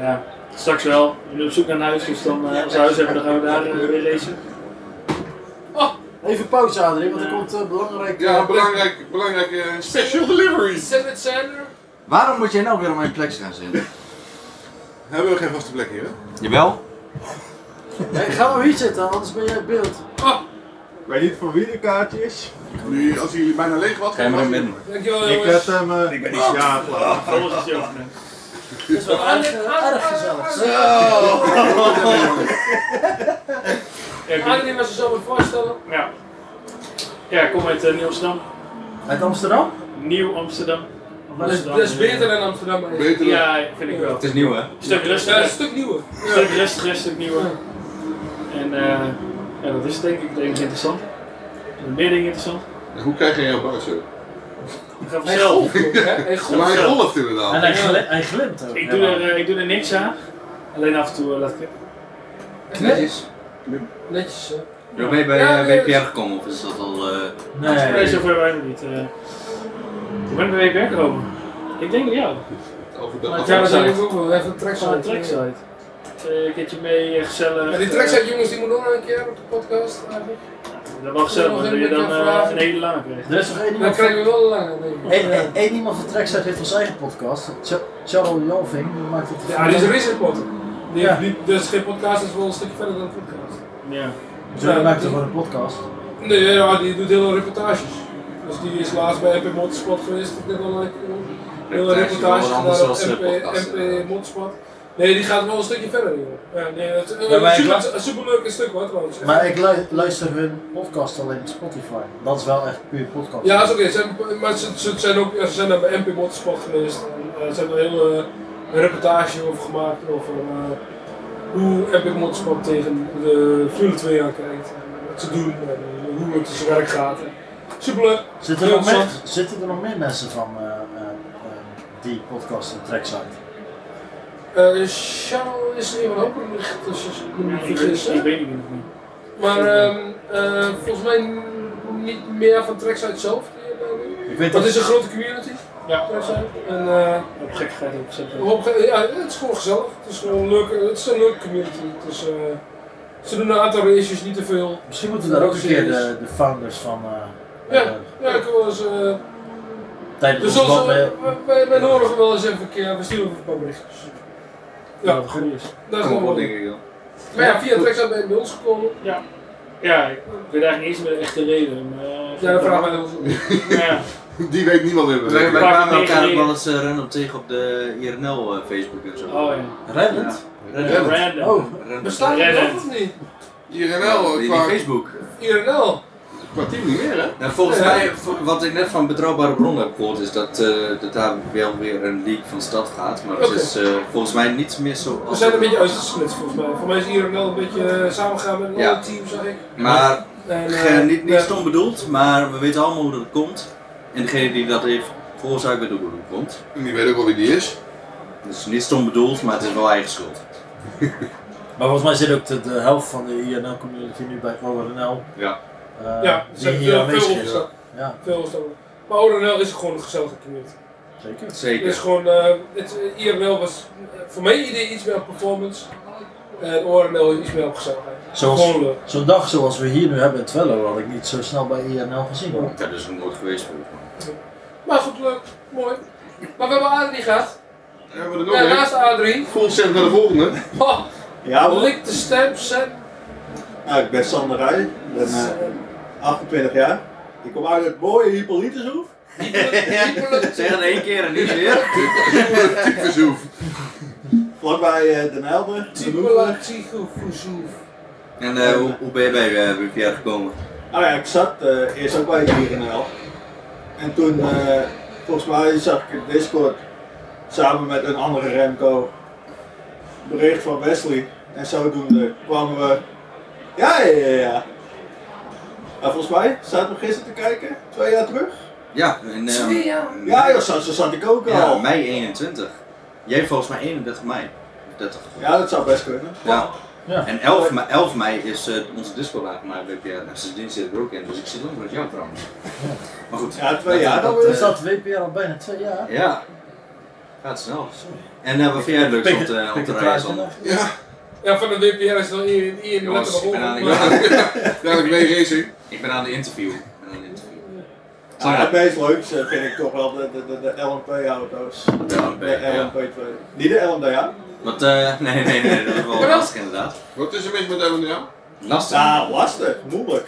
Speaker 2: Ja, straks wel. Ik ben op zoek naar een huis, dus dan, eh, als we huis hebben, dan gaan we daar eh, weer racen.
Speaker 5: Oh.
Speaker 7: Even pauze, Adrie, want er komt eh, belangrijk.
Speaker 6: Ja, belangrijk, belangrijk eh, special deliveries.
Speaker 5: Sam het Sander?
Speaker 10: Waarom moet jij nou weer op mijn plek gaan zitten?
Speaker 6: Hebben we geen vaste plek hier, hè?
Speaker 10: Jawel.
Speaker 7: Hey, ga maar hier zitten, anders ben jij in beeld.
Speaker 12: Ah.
Speaker 5: Oh,
Speaker 12: Ik weet niet voor wie de kaart is.
Speaker 6: Nu, als jullie bijna leeg was,
Speaker 10: Ga je maar in
Speaker 6: mag-
Speaker 10: midden.
Speaker 5: dankjewel
Speaker 12: Ik
Speaker 5: jongens.
Speaker 12: heb hem. eh,
Speaker 10: Ik ben niet-
Speaker 12: ja, klaar.
Speaker 2: Alles is jou.
Speaker 7: Het is wel
Speaker 5: Aan-
Speaker 7: erg, eh,
Speaker 5: aan-
Speaker 7: erg
Speaker 5: aan-
Speaker 7: gezellig.
Speaker 5: Adeline was er zo aan voorstellen.
Speaker 2: Ja. ja, ik kom uit eh, Nieuw-Amsterdam.
Speaker 7: Uit Amsterdam?
Speaker 2: Nieuw-Amsterdam.
Speaker 5: Dat is, dat is beter
Speaker 2: eh,
Speaker 5: dan Amsterdam. eigenlijk.
Speaker 6: Beter dan-
Speaker 2: Ja, vind ik wel.
Speaker 10: Het is nieuw, hè?
Speaker 2: Stuk
Speaker 5: Ja,
Speaker 2: rustiger.
Speaker 5: een stuk nieuwer.
Speaker 2: Een stuk rustiger, een stuk nieuwer. En eh, ja, dat is denk ik het enige interessant. En meer dingen interessant.
Speaker 6: Hoe krijg je jouw buis zo?
Speaker 2: Ik ga
Speaker 5: Hij
Speaker 2: vanzelf.
Speaker 5: golft ook, hè? Hij golft.
Speaker 6: Maar hij golft inderdaad.
Speaker 7: En hij, glim, hij glimt ook.
Speaker 2: Ik doe, er, eh, ik doe er niks aan. Alleen af en toe eh, laat ik het.
Speaker 10: Netjes.
Speaker 5: Netjes, hè?
Speaker 10: Ben je bij
Speaker 5: Ja,
Speaker 10: eh,
Speaker 5: nee,
Speaker 10: WPR gekomen of is dat al... eh,
Speaker 2: dus- Nee,
Speaker 7: Nee.
Speaker 2: zover waren we niet. eh. Hoe ben ik bij WPR gekomen? Ik denk ja,
Speaker 6: Over de
Speaker 2: Maar
Speaker 6: af-
Speaker 5: Ja, dat denk ik ook wel. Even een
Speaker 2: van
Speaker 5: trackside.
Speaker 2: de trackside. Eh, Een keertje mee, eh, gezellig.
Speaker 5: Ja, die
Speaker 2: eh,
Speaker 5: trackside jongens, die moeten ook nog een keer op de podcast. eigenlijk.
Speaker 2: Dat was gezellig, maar dat je dan eh, een hele lange krijgt.
Speaker 7: Er is nog één
Speaker 5: Dan
Speaker 7: iemand.
Speaker 5: krijgen we wel een lange, denk ik.
Speaker 7: Eén één- één iemand van Trackside heeft ons eigen podcast. Ch- Charles Jalving, die maakt het.
Speaker 5: Ja, die is een racerpot. Die
Speaker 7: Ja.
Speaker 5: heeft niet- Dus geen podcast is wel een stukje verder dan een podcast.
Speaker 2: Ja.
Speaker 7: Zo, die maakt gewoon een podcast.
Speaker 5: Nee, ja, die doet hele reportages. Dus die is laatst bij MP Motorsport geweest. Ik denk wel een hele
Speaker 10: Reportage is wel
Speaker 5: reportage
Speaker 10: wat anders
Speaker 5: gedaan.
Speaker 10: als, eh,
Speaker 5: MP,
Speaker 10: podcast,
Speaker 5: MP Motorsport. Nee, die gaat wel een stukje verder, joh. Ja, nee, dat, eh,
Speaker 7: Ja, maar ik
Speaker 5: super,
Speaker 7: la-
Speaker 5: een superleuk stuk hoor, trouwens.
Speaker 7: Maar ik lu- luister hun podcast alleen op Spotify. Dat is wel echt puur podcast.
Speaker 5: Ja, dat is oké. Ze hebben- Maar ze, ze zijn ook, ja, ze zijn daar bij MP Motorsport geweest. En, eh, ze hebben er een hele een reportage over gemaakt over eh, hoe MP Motorsport tegen de Formule 2 aankijkt. En Wat ze doen en eh, hoe het zijn werk gaat. Superleuk.
Speaker 7: Zitten er,
Speaker 5: Heel
Speaker 7: nog meer,
Speaker 5: interessant.
Speaker 7: zitten er nog meer mensen van eh, eh, eh, die podcast en tracksite?
Speaker 5: Eh, Charles is er iemand open licht, dus als ik me
Speaker 9: Ja,
Speaker 5: niet
Speaker 9: ik weet-
Speaker 5: vergis. hè?
Speaker 9: ik weet het nog niet.
Speaker 5: Maar ehm, eh, volgens mij niet meer van Trackside zelf. die, eh,
Speaker 9: Ik weet
Speaker 5: dat
Speaker 9: dat-
Speaker 5: is een grote community.
Speaker 9: Ja.
Speaker 5: Trackside. En, eh,
Speaker 9: Op gekkigheid ook gezet.
Speaker 5: Een hoop ge- Ja, het is gewoon gezellig. Het is gewoon leuk. eh, Het is een leuke community. Het is, eh, ze doen een aantal races, niet te veel.
Speaker 7: Misschien moeten we daar ook een keer
Speaker 5: Series.
Speaker 7: de, de founders van eh,
Speaker 5: Ja, ja, ik wil eens. eh,
Speaker 7: tijdens
Speaker 5: dus
Speaker 7: ons
Speaker 5: als,
Speaker 7: land
Speaker 5: eh,
Speaker 7: bij-
Speaker 5: wij, wij, wij nodigen wel eens even een keer, we sturen even een paar berichtjes. Ja,
Speaker 9: dat goed is.
Speaker 5: Dat is gewoon wel
Speaker 6: denk ik dan.
Speaker 5: Maar ja, via Trackside ben je bij ons gekomen.
Speaker 9: Ja. Ja, ik weet eigenlijk niet eens meer de echte reden. Maar, eh,
Speaker 5: Ja, dat vragen wij ons.
Speaker 10: [LAUGHS]
Speaker 9: Ja.
Speaker 6: [LAUGHS] Die weet niemand meer.
Speaker 10: Wij, wij kwamen elkaar ook
Speaker 9: wel
Speaker 10: wel eens eh, random tegen op de IRNL eh, Facebook en zo.
Speaker 9: Oh
Speaker 10: ja.
Speaker 7: Reddit?
Speaker 10: Reddit.
Speaker 9: Reddit.
Speaker 10: Oh,
Speaker 5: Bestaat het nog of niet?
Speaker 10: IRNL, die, die Facebook.
Speaker 5: IRNL.
Speaker 6: Qua team niet meer, hè?
Speaker 10: Nou, volgens
Speaker 5: Ja.
Speaker 10: mij, v- wat ik net van betrouwbare bronnen heb gehoord, is dat, eh, dat daar wel weer een leak van stad gaat. Maar
Speaker 5: Oké.
Speaker 10: het is eh, volgens mij niet meer zo.
Speaker 5: We zijn een beetje uitgesplitst volgens mij. Voor mij is IRNL een beetje eh, samengegaan met een
Speaker 10: Ja.
Speaker 5: ander team, zag ik.
Speaker 10: Maar
Speaker 5: En, eh,
Speaker 10: ge- niet, niet stom bedoeld, maar we weten allemaal hoe dat komt. En degene die dat heeft veroorzaakt, weet ook hoe dat komt.
Speaker 6: Die weet ook wel wie die is.
Speaker 10: Dus niet stom bedoeld, maar het is wel eigen schuld.
Speaker 7: Maar volgens mij zit ook de, de helft van de INL community nu bij ORNL.
Speaker 10: Ja.
Speaker 7: Eh,
Speaker 5: ja, ze
Speaker 7: die
Speaker 5: hebben
Speaker 7: hier
Speaker 5: veel, veel
Speaker 7: aanwezig is.
Speaker 5: opgestapt.
Speaker 7: Ja.
Speaker 5: Veel opgestapt. Maar ORNL is gewoon een gezellige community.
Speaker 7: Zeker.
Speaker 10: Zeker.
Speaker 5: Het is gewoon, eh, het, eh, IRNL was eh, voor mijn idee iets meer op performance. En ORNL iets meer op gezelligheid.
Speaker 7: Zoals-
Speaker 5: Gewoon leuk.
Speaker 7: Zo'n dag zoals we hier nu hebben in Twello had ik niet zo snel bij INL gezien hoor.
Speaker 10: Dat is nog nooit geweest volgens mij.
Speaker 5: Maar goed, leuk. Mooi. Maar we hebben Adrie gehad.
Speaker 6: Hebben we er nog
Speaker 5: Ja,
Speaker 6: een?
Speaker 5: naast Adrie.
Speaker 6: Full set naar de volgende.
Speaker 5: Oh,
Speaker 12: Ja, hoor.
Speaker 5: Lik de stem, set.
Speaker 12: Nou, ik ben Sander Rij, ik ben eh, 28 jaar. Ik kom uit het mooie Hippolytushoef.
Speaker 10: Zeg het één keer en niet meer.
Speaker 6: Tyfushoef.
Speaker 12: Vlakbij eh Den Helder.
Speaker 5: Typela, Tycho, Fusoef.
Speaker 10: En eh, hoe, hoe ben je bij eh, WPR gekomen?
Speaker 12: Nou ja, ik zat eh, eerst ook bij IRNL. En toen, eh, volgens mij zag ik in Discord samen met een andere Remco bericht van Wesley. En zodoende kwamen we. Ja, ja, ja, ja. Maar volgens mij zaten we gisteren te kijken, twee jaar terug.
Speaker 10: Ja, in, eh,
Speaker 12: Twee jaar? Ja, joh, zo- zo zat ik ook
Speaker 10: Ja,
Speaker 12: al.
Speaker 10: mei 21. Jij hebt volgens mij 31 mei. 30.
Speaker 12: Ja, dat zou best kunnen.
Speaker 10: Ja.
Speaker 12: Ja.
Speaker 10: En 11 mei, 11 mei is eh, onze disco laag naar WPR. En sindsdien zit ik er ook in, dus ik zit ook met jou trouwens. Maar goed.
Speaker 12: Ja, twee jaar
Speaker 10: dat,
Speaker 12: dan
Speaker 10: dat,
Speaker 12: weer.
Speaker 10: eh,
Speaker 7: Is dat WPR al bijna twee jaar?
Speaker 10: Ja. Gaat snel. En eh, wat vind jij het leukste om te, om te rijden, Sander?
Speaker 6: Ja.
Speaker 5: Ja, van de WPR is dan Ian Ian
Speaker 10: Jongens,
Speaker 5: lekker
Speaker 10: ik ben aan
Speaker 5: nog
Speaker 10: de...
Speaker 5: op. maar- [LAUGHS]
Speaker 10: [LAUGHS]
Speaker 6: ik ben racing.
Speaker 10: Ik ben aan de interview. Ik ben aan de interview.
Speaker 12: Ja, Ah, het meest leuks eh, vind ik toch wel de, de, de, de LMP-auto's.
Speaker 10: De LMP, ja.
Speaker 12: LMP2. Niet de LMDA.
Speaker 10: Wat, eh, nee, nee, nee, dat is [LAUGHS] wel
Speaker 12: Waarom?
Speaker 10: lastig inderdaad.
Speaker 6: Wat is er mis met LMDA?
Speaker 10: Lastig.
Speaker 12: Ah, lastig. Moeilijk.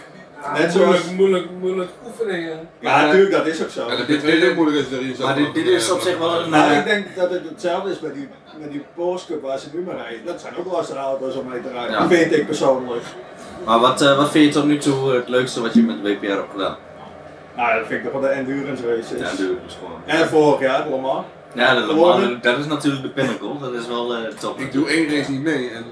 Speaker 12: Net zoals...
Speaker 5: Moeilijk, moeilijk, moeilijk oefeningen.
Speaker 12: Ja, natuurlijk, dat is ook zo.
Speaker 6: Ja, dat dit weet ik moeilijk is erin zo.
Speaker 10: Maar dit- dit is op zich wel een- eh,
Speaker 12: Maar Nou, ik denk dat het hetzelfde is met die, met die Porsche Cup waar ze nu mee rijden. Dat zijn ook lastige auto's om mee te rijden.
Speaker 10: Ja.
Speaker 12: Vind ik persoonlijk.
Speaker 10: Maar wat, eh, wat vind je tot nu toe het leukste wat je met WPR hebt gedaan?
Speaker 12: Nou, dat vind ik toch wel de endurance races.
Speaker 10: Ja, natuurlijk. is gewoon-
Speaker 12: En vorig jaar, Le Mans.
Speaker 10: Ja, dat,
Speaker 12: Gewonnen.
Speaker 10: dat is natuurlijk de pinnacle. Dat is wel eh top.
Speaker 6: Ik doe één race niet mee. En,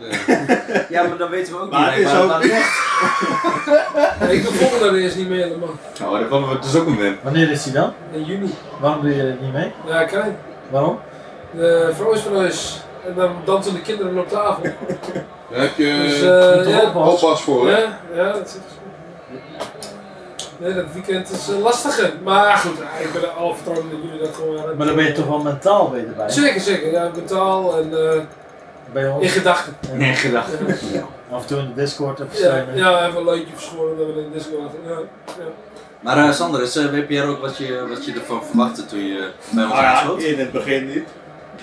Speaker 10: ja, maar dan weten we ook
Speaker 12: Maar
Speaker 10: niet.
Speaker 12: het is
Speaker 10: waar
Speaker 12: ook...
Speaker 10: aan ligt.
Speaker 5: Ik de volgende race niet meer helemaal.
Speaker 10: Oh, dat kwam het dus ook een win.
Speaker 7: Wanneer is die dan?
Speaker 5: In juni.
Speaker 7: Waarom doe je er niet mee?
Speaker 5: Ja, klein.
Speaker 7: Waarom?
Speaker 5: De vrouw is van huis. En dan dansen de kinderen op tafel.
Speaker 6: [LAUGHS] Daar heb je
Speaker 5: Dus, eh,
Speaker 6: moet er
Speaker 5: ja.
Speaker 6: oppas. oppas voor, hè?
Speaker 5: Ja, ja, dat zit Nee, dat weekend is eh, lastiger. Maar goed, eh, ik ben er al vertrouwen dat jullie dat gewoon aan het-
Speaker 7: Maar dan ben je toch wel mentaal beter bij?
Speaker 5: Zeker, zeker. Ja, mentaal en eh,
Speaker 7: Bij ons?
Speaker 5: in gedachten.
Speaker 10: Nee, gedacht.
Speaker 7: Af en toe in de Discord even
Speaker 5: Ja,
Speaker 7: steunen.
Speaker 5: ja, even een loodje verschoren dat we in de disco hadden. Ja, ja.
Speaker 10: Maar eh, Sander, is eh, WPR ook wat je, wat je ervan verwachtte toen je bij ons
Speaker 12: Nou ja,
Speaker 10: aansloot?
Speaker 12: in het begin niet.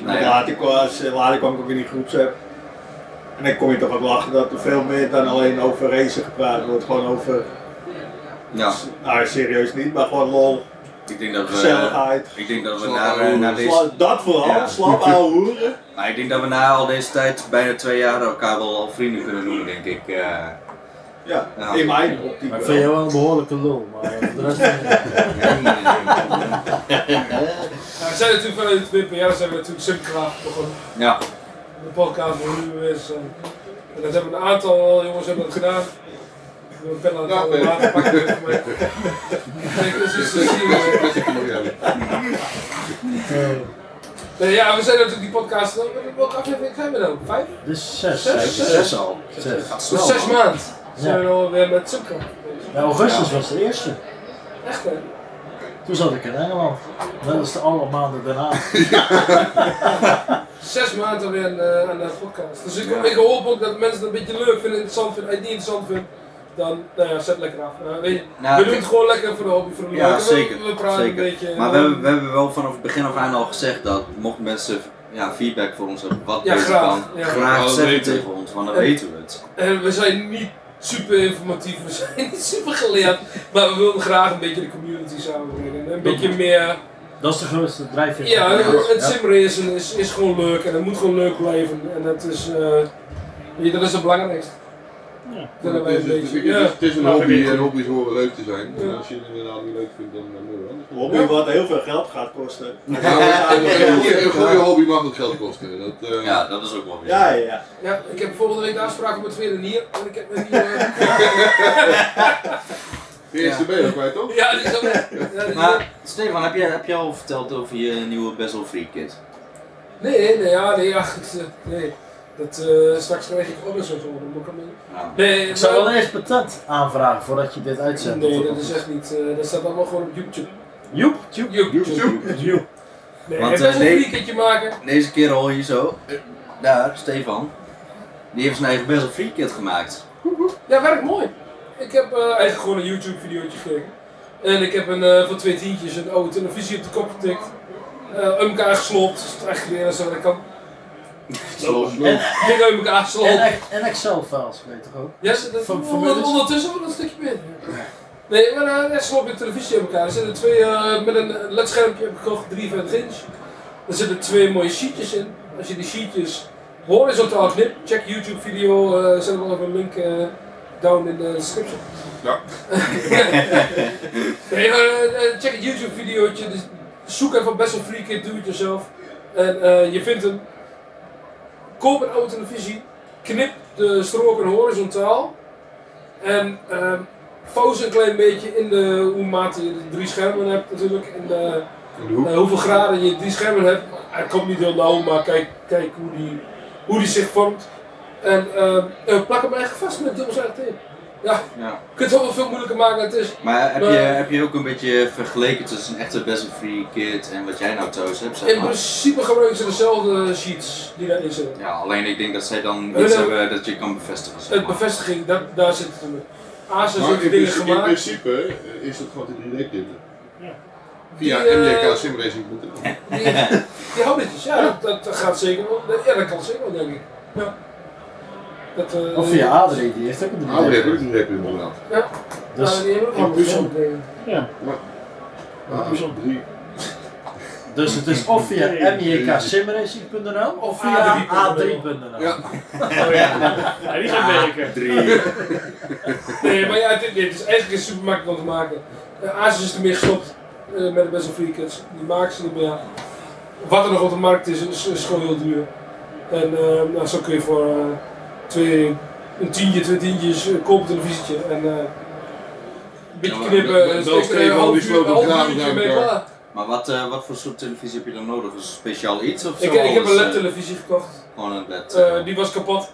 Speaker 10: Nee.
Speaker 12: Later, was, later kwam eh, ik ook in die groepsapp. En dan kom je toch ook lachen dat er veel meer dan alleen over racen gepraat wordt. Gewoon over,
Speaker 10: Ja.
Speaker 12: nou serieus niet, maar gewoon lol.
Speaker 10: Ik denk dat we,
Speaker 12: Gezelligheid.
Speaker 10: Ik denk dat we
Speaker 12: Slap
Speaker 10: na,
Speaker 12: ouwe
Speaker 10: na
Speaker 12: hoeren.
Speaker 10: deze...
Speaker 12: Slap- dat vooral, slap
Speaker 10: [LAUGHS]
Speaker 12: ouwe hoeren.
Speaker 10: Maar ik denk dat we na al deze tijd, bijna twee jaar, elkaar wel al vrienden kunnen noemen, denk ik. eh. Nou.
Speaker 12: Ja, in mijn optiek
Speaker 7: Ik
Speaker 10: wel.
Speaker 7: vind jou wel een behoorlijke lul, maar eh, voor de rest vind
Speaker 5: Nou, we zijn natuurlijk vanuit het WPR zijn we natuurlijk subcraft begonnen.
Speaker 10: Ja.
Speaker 5: De podcast waar we nu is. eh, En dat hebben een aantal jongens hebben dat gedaan. Ik wil een pen aan het water pakken. [LAUGHS] Kijk, dus is te zien. eh. Nee, ja, we zijn natuurlijk die podcast. eh, Welke aflevering zijn we nou? Vijf?
Speaker 7: Dus zes.
Speaker 5: Zes,
Speaker 7: Zes.
Speaker 5: zes
Speaker 10: al.
Speaker 7: Zes. Gaat snel,
Speaker 5: Dus zes
Speaker 7: man.
Speaker 5: maanden zijn
Speaker 7: Ja.
Speaker 5: we alweer met subcraft. bezig.
Speaker 7: Ja, augustus was de eerste.
Speaker 5: Echt hè?
Speaker 7: Toen zat ik in Engeland. Dat is de alle maanden
Speaker 10: [LAUGHS]
Speaker 7: daarna.
Speaker 5: zes maanden weer aan, eh, aan de podcast. Dus ik,
Speaker 7: Ja.
Speaker 5: ik hoop ook dat mensen het een beetje leuk vinden, interessant vinden. Als je het niet interessant vindt, dan nou ja, zet lekker af. Eh, weet je,
Speaker 10: Nou,
Speaker 5: we doen
Speaker 10: ik-
Speaker 5: het gewoon lekker voor de hobby, voor de
Speaker 10: Ja,
Speaker 5: leuk. We-
Speaker 10: zeker.
Speaker 5: We praten
Speaker 10: zeker.
Speaker 5: een beetje.
Speaker 10: Maar we
Speaker 5: eh,
Speaker 10: hebben, we hebben wel vanaf het begin af aan al gezegd dat mochten mensen ja, feedback voor ons hebben, wat
Speaker 5: Ja,
Speaker 10: beter
Speaker 5: graag.
Speaker 10: kan,
Speaker 5: Ja. Ja,
Speaker 10: graag
Speaker 5: dat
Speaker 10: zeggen
Speaker 5: weten we.
Speaker 10: tegen ons, want dan
Speaker 5: En-
Speaker 10: weten we het.
Speaker 5: En we zijn niet super informatief, we [LAUGHS] zijn niet super geleerd, maar we willen graag een beetje de community samenbrengen. Een beetje meer.
Speaker 7: Dat is de grootste drijfveer.
Speaker 5: Ja, het
Speaker 7: Ja.
Speaker 5: simracen is, is gewoon leuk en het moet gewoon leuk blijven. En dat is, eh, weet je, dat is het belangrijkste. Ja.
Speaker 6: Het is- het is- het is een
Speaker 5: Ja.
Speaker 6: hobby en hobby's horen leuk te zijn.
Speaker 5: Ja.
Speaker 6: En als je het inderdaad niet leuk vindt, dan dan moet je wel anders.
Speaker 12: Hobby wat heel veel geld gaat kosten.
Speaker 6: Ja, maar Een goede- een goede hobby mag ook geld kosten. Dat, eh,
Speaker 10: Ja, dat is ook wel weer.
Speaker 12: Ja, ja, ja.
Speaker 5: Ja, ik heb volgende week de afspraak om het tweede hier. En ik heb een nieuwe.
Speaker 10: De eerste ben je al
Speaker 6: kwijt, toch?
Speaker 5: Ja, die is al weg. Ja, die is al weg.
Speaker 10: Maar Stefan, heb jij, heb jij al verteld over je nieuwe Bessel Free Kit?
Speaker 5: Nee, nee, ja, nee, ja, goed, eh, nee. Dat, eh, straks krijg ik ook nog zo'n volgende boek aan
Speaker 10: Ja.
Speaker 5: Nee,
Speaker 7: Ik zou
Speaker 5: maar-
Speaker 7: wel eerst patent aanvragen voordat je dit uitzendt.
Speaker 5: Nee, dat is echt niet. eh, dat staat allemaal gewoon op YouTube.
Speaker 7: Joep,
Speaker 5: Joep, joep, joep. Nee,
Speaker 10: Want,
Speaker 5: en best
Speaker 10: eh,
Speaker 5: wel een
Speaker 10: nee.
Speaker 5: weekendje maken.
Speaker 10: Deze keer hoor je zo, eh, daar, Stefan, die heeft zijn eigen Bessel Free Kit gemaakt.
Speaker 5: Ja, werkt mooi. Ik heb eh, eigenlijk gewoon een YouTube videootje gekeken. En ik heb een, eh van twee tientjes een oude televisie op de kop getikt. Eh uit elkaar geslopt, dus het is echt weer als dat kan. Dingen uit elkaar geslopt.
Speaker 7: En, en Excel-files, weet je toch ook?
Speaker 5: Ja, ze- dat
Speaker 7: Van-
Speaker 5: on-
Speaker 7: van
Speaker 5: on-
Speaker 7: Willis.
Speaker 5: ondertussen wel een stukje meer. Nee, maar eh, net slop ik televisie op elkaar. Er zitten twee, eh, met een ledschermpje heb ik gekocht, 53 inch. Er zitten twee mooie sheetjes in. Als je die sheetjes horizontaal knipt, check YouTube video, eh zet wel even een link eh, down in de description.
Speaker 6: Ja.
Speaker 5: nee, maar, eh, eh, check het YouTube videootje, dus zoek even best wel free kid, do it yourself. En eh, je vindt hem. Koop een oude televisie, knip de stroken horizontaal en ehm vouw ze een klein beetje in de hoe mate je de drie schermen hebt natuurlijk en de, eh, hoeveel graden je drie schermen hebt. Hij komt niet heel nauw, maar kijk, kijk hoe, die, hoe die zich vormt. En ehm, eh, plak hem eigenlijk vast met dubbelzijdig tape. Ja,
Speaker 10: Ja.
Speaker 5: je kunt het wel veel moeilijker maken dan het is.
Speaker 10: Maar heb je, heb je ook een beetje vergeleken tussen een echte Bessel Free Kit en wat jij nou thuis hebt? Zeg
Speaker 5: In
Speaker 10: maar?
Speaker 5: principe gebruiken ze dezelfde sheets die daarin zitten.
Speaker 10: Ja, alleen ik denk dat zij dan
Speaker 5: Hun
Speaker 10: iets
Speaker 5: hebben-
Speaker 10: hebben dat je kan bevestigen. zeg
Speaker 5: Het
Speaker 10: maar.
Speaker 5: bevestiging, dat, daar zit het in. ASUS
Speaker 6: Maar
Speaker 5: heeft
Speaker 6: in,
Speaker 5: dingen
Speaker 6: principe, in
Speaker 5: gemaakt.
Speaker 6: principe eh, is het gewoon de 3D-printer. Via
Speaker 5: Die, eh,
Speaker 6: MJK Simracing.nl.
Speaker 5: Die, die houdertjes, ja, dat, dat gaat zeker wel. dat- Ja, dat kan zeker wel, denk ik. Ja. Dat, eh,
Speaker 7: Of via Adrie, die heeft ook een
Speaker 6: Adrie heeft ook een drieprinter inderdaad.
Speaker 5: Ja,
Speaker 7: Dus-
Speaker 5: Ja, die hebben ook
Speaker 7: In
Speaker 5: allemaal
Speaker 7: puzzel.
Speaker 5: dezelfde dingen.
Speaker 9: Ja.
Speaker 6: drie.
Speaker 7: Dus het is of via mjksimracing.nl of via a3.nl.
Speaker 5: Ja.
Speaker 9: Oh, Ja, die gaat werken.
Speaker 5: nee, maar ja, dit, dit is eigenlijk super makkelijk om te maken. Eh, Asus is ermee gestopt eh, met de best of free kits. Die maken ze niet meer. Wat er nog op de markt is, is, is gewoon heel duur. En eh, nou, zo kun je voor eh, twee, een tientje, twee tientjes eh, kopen televisietje. En eh, een beetje
Speaker 10: Ja, maar
Speaker 5: knippen,
Speaker 10: dat-
Speaker 5: en
Speaker 10: dat
Speaker 5: steek
Speaker 10: is
Speaker 5: er een
Speaker 10: even al die
Speaker 5: half uur,
Speaker 10: sloten
Speaker 5: half
Speaker 10: graven
Speaker 5: uurtje
Speaker 10: zijn
Speaker 5: mee
Speaker 10: elkaar.
Speaker 5: klaar.
Speaker 10: Maar wat, eh, wat voor soort televisie heb je dan nodig? Een speciaal iets of zo?
Speaker 5: Ik, ik heb
Speaker 10: Of
Speaker 5: een
Speaker 10: is, eh,
Speaker 5: LED-televisie gekocht.
Speaker 10: Gewoon een LED.
Speaker 5: Eh, die was kapot.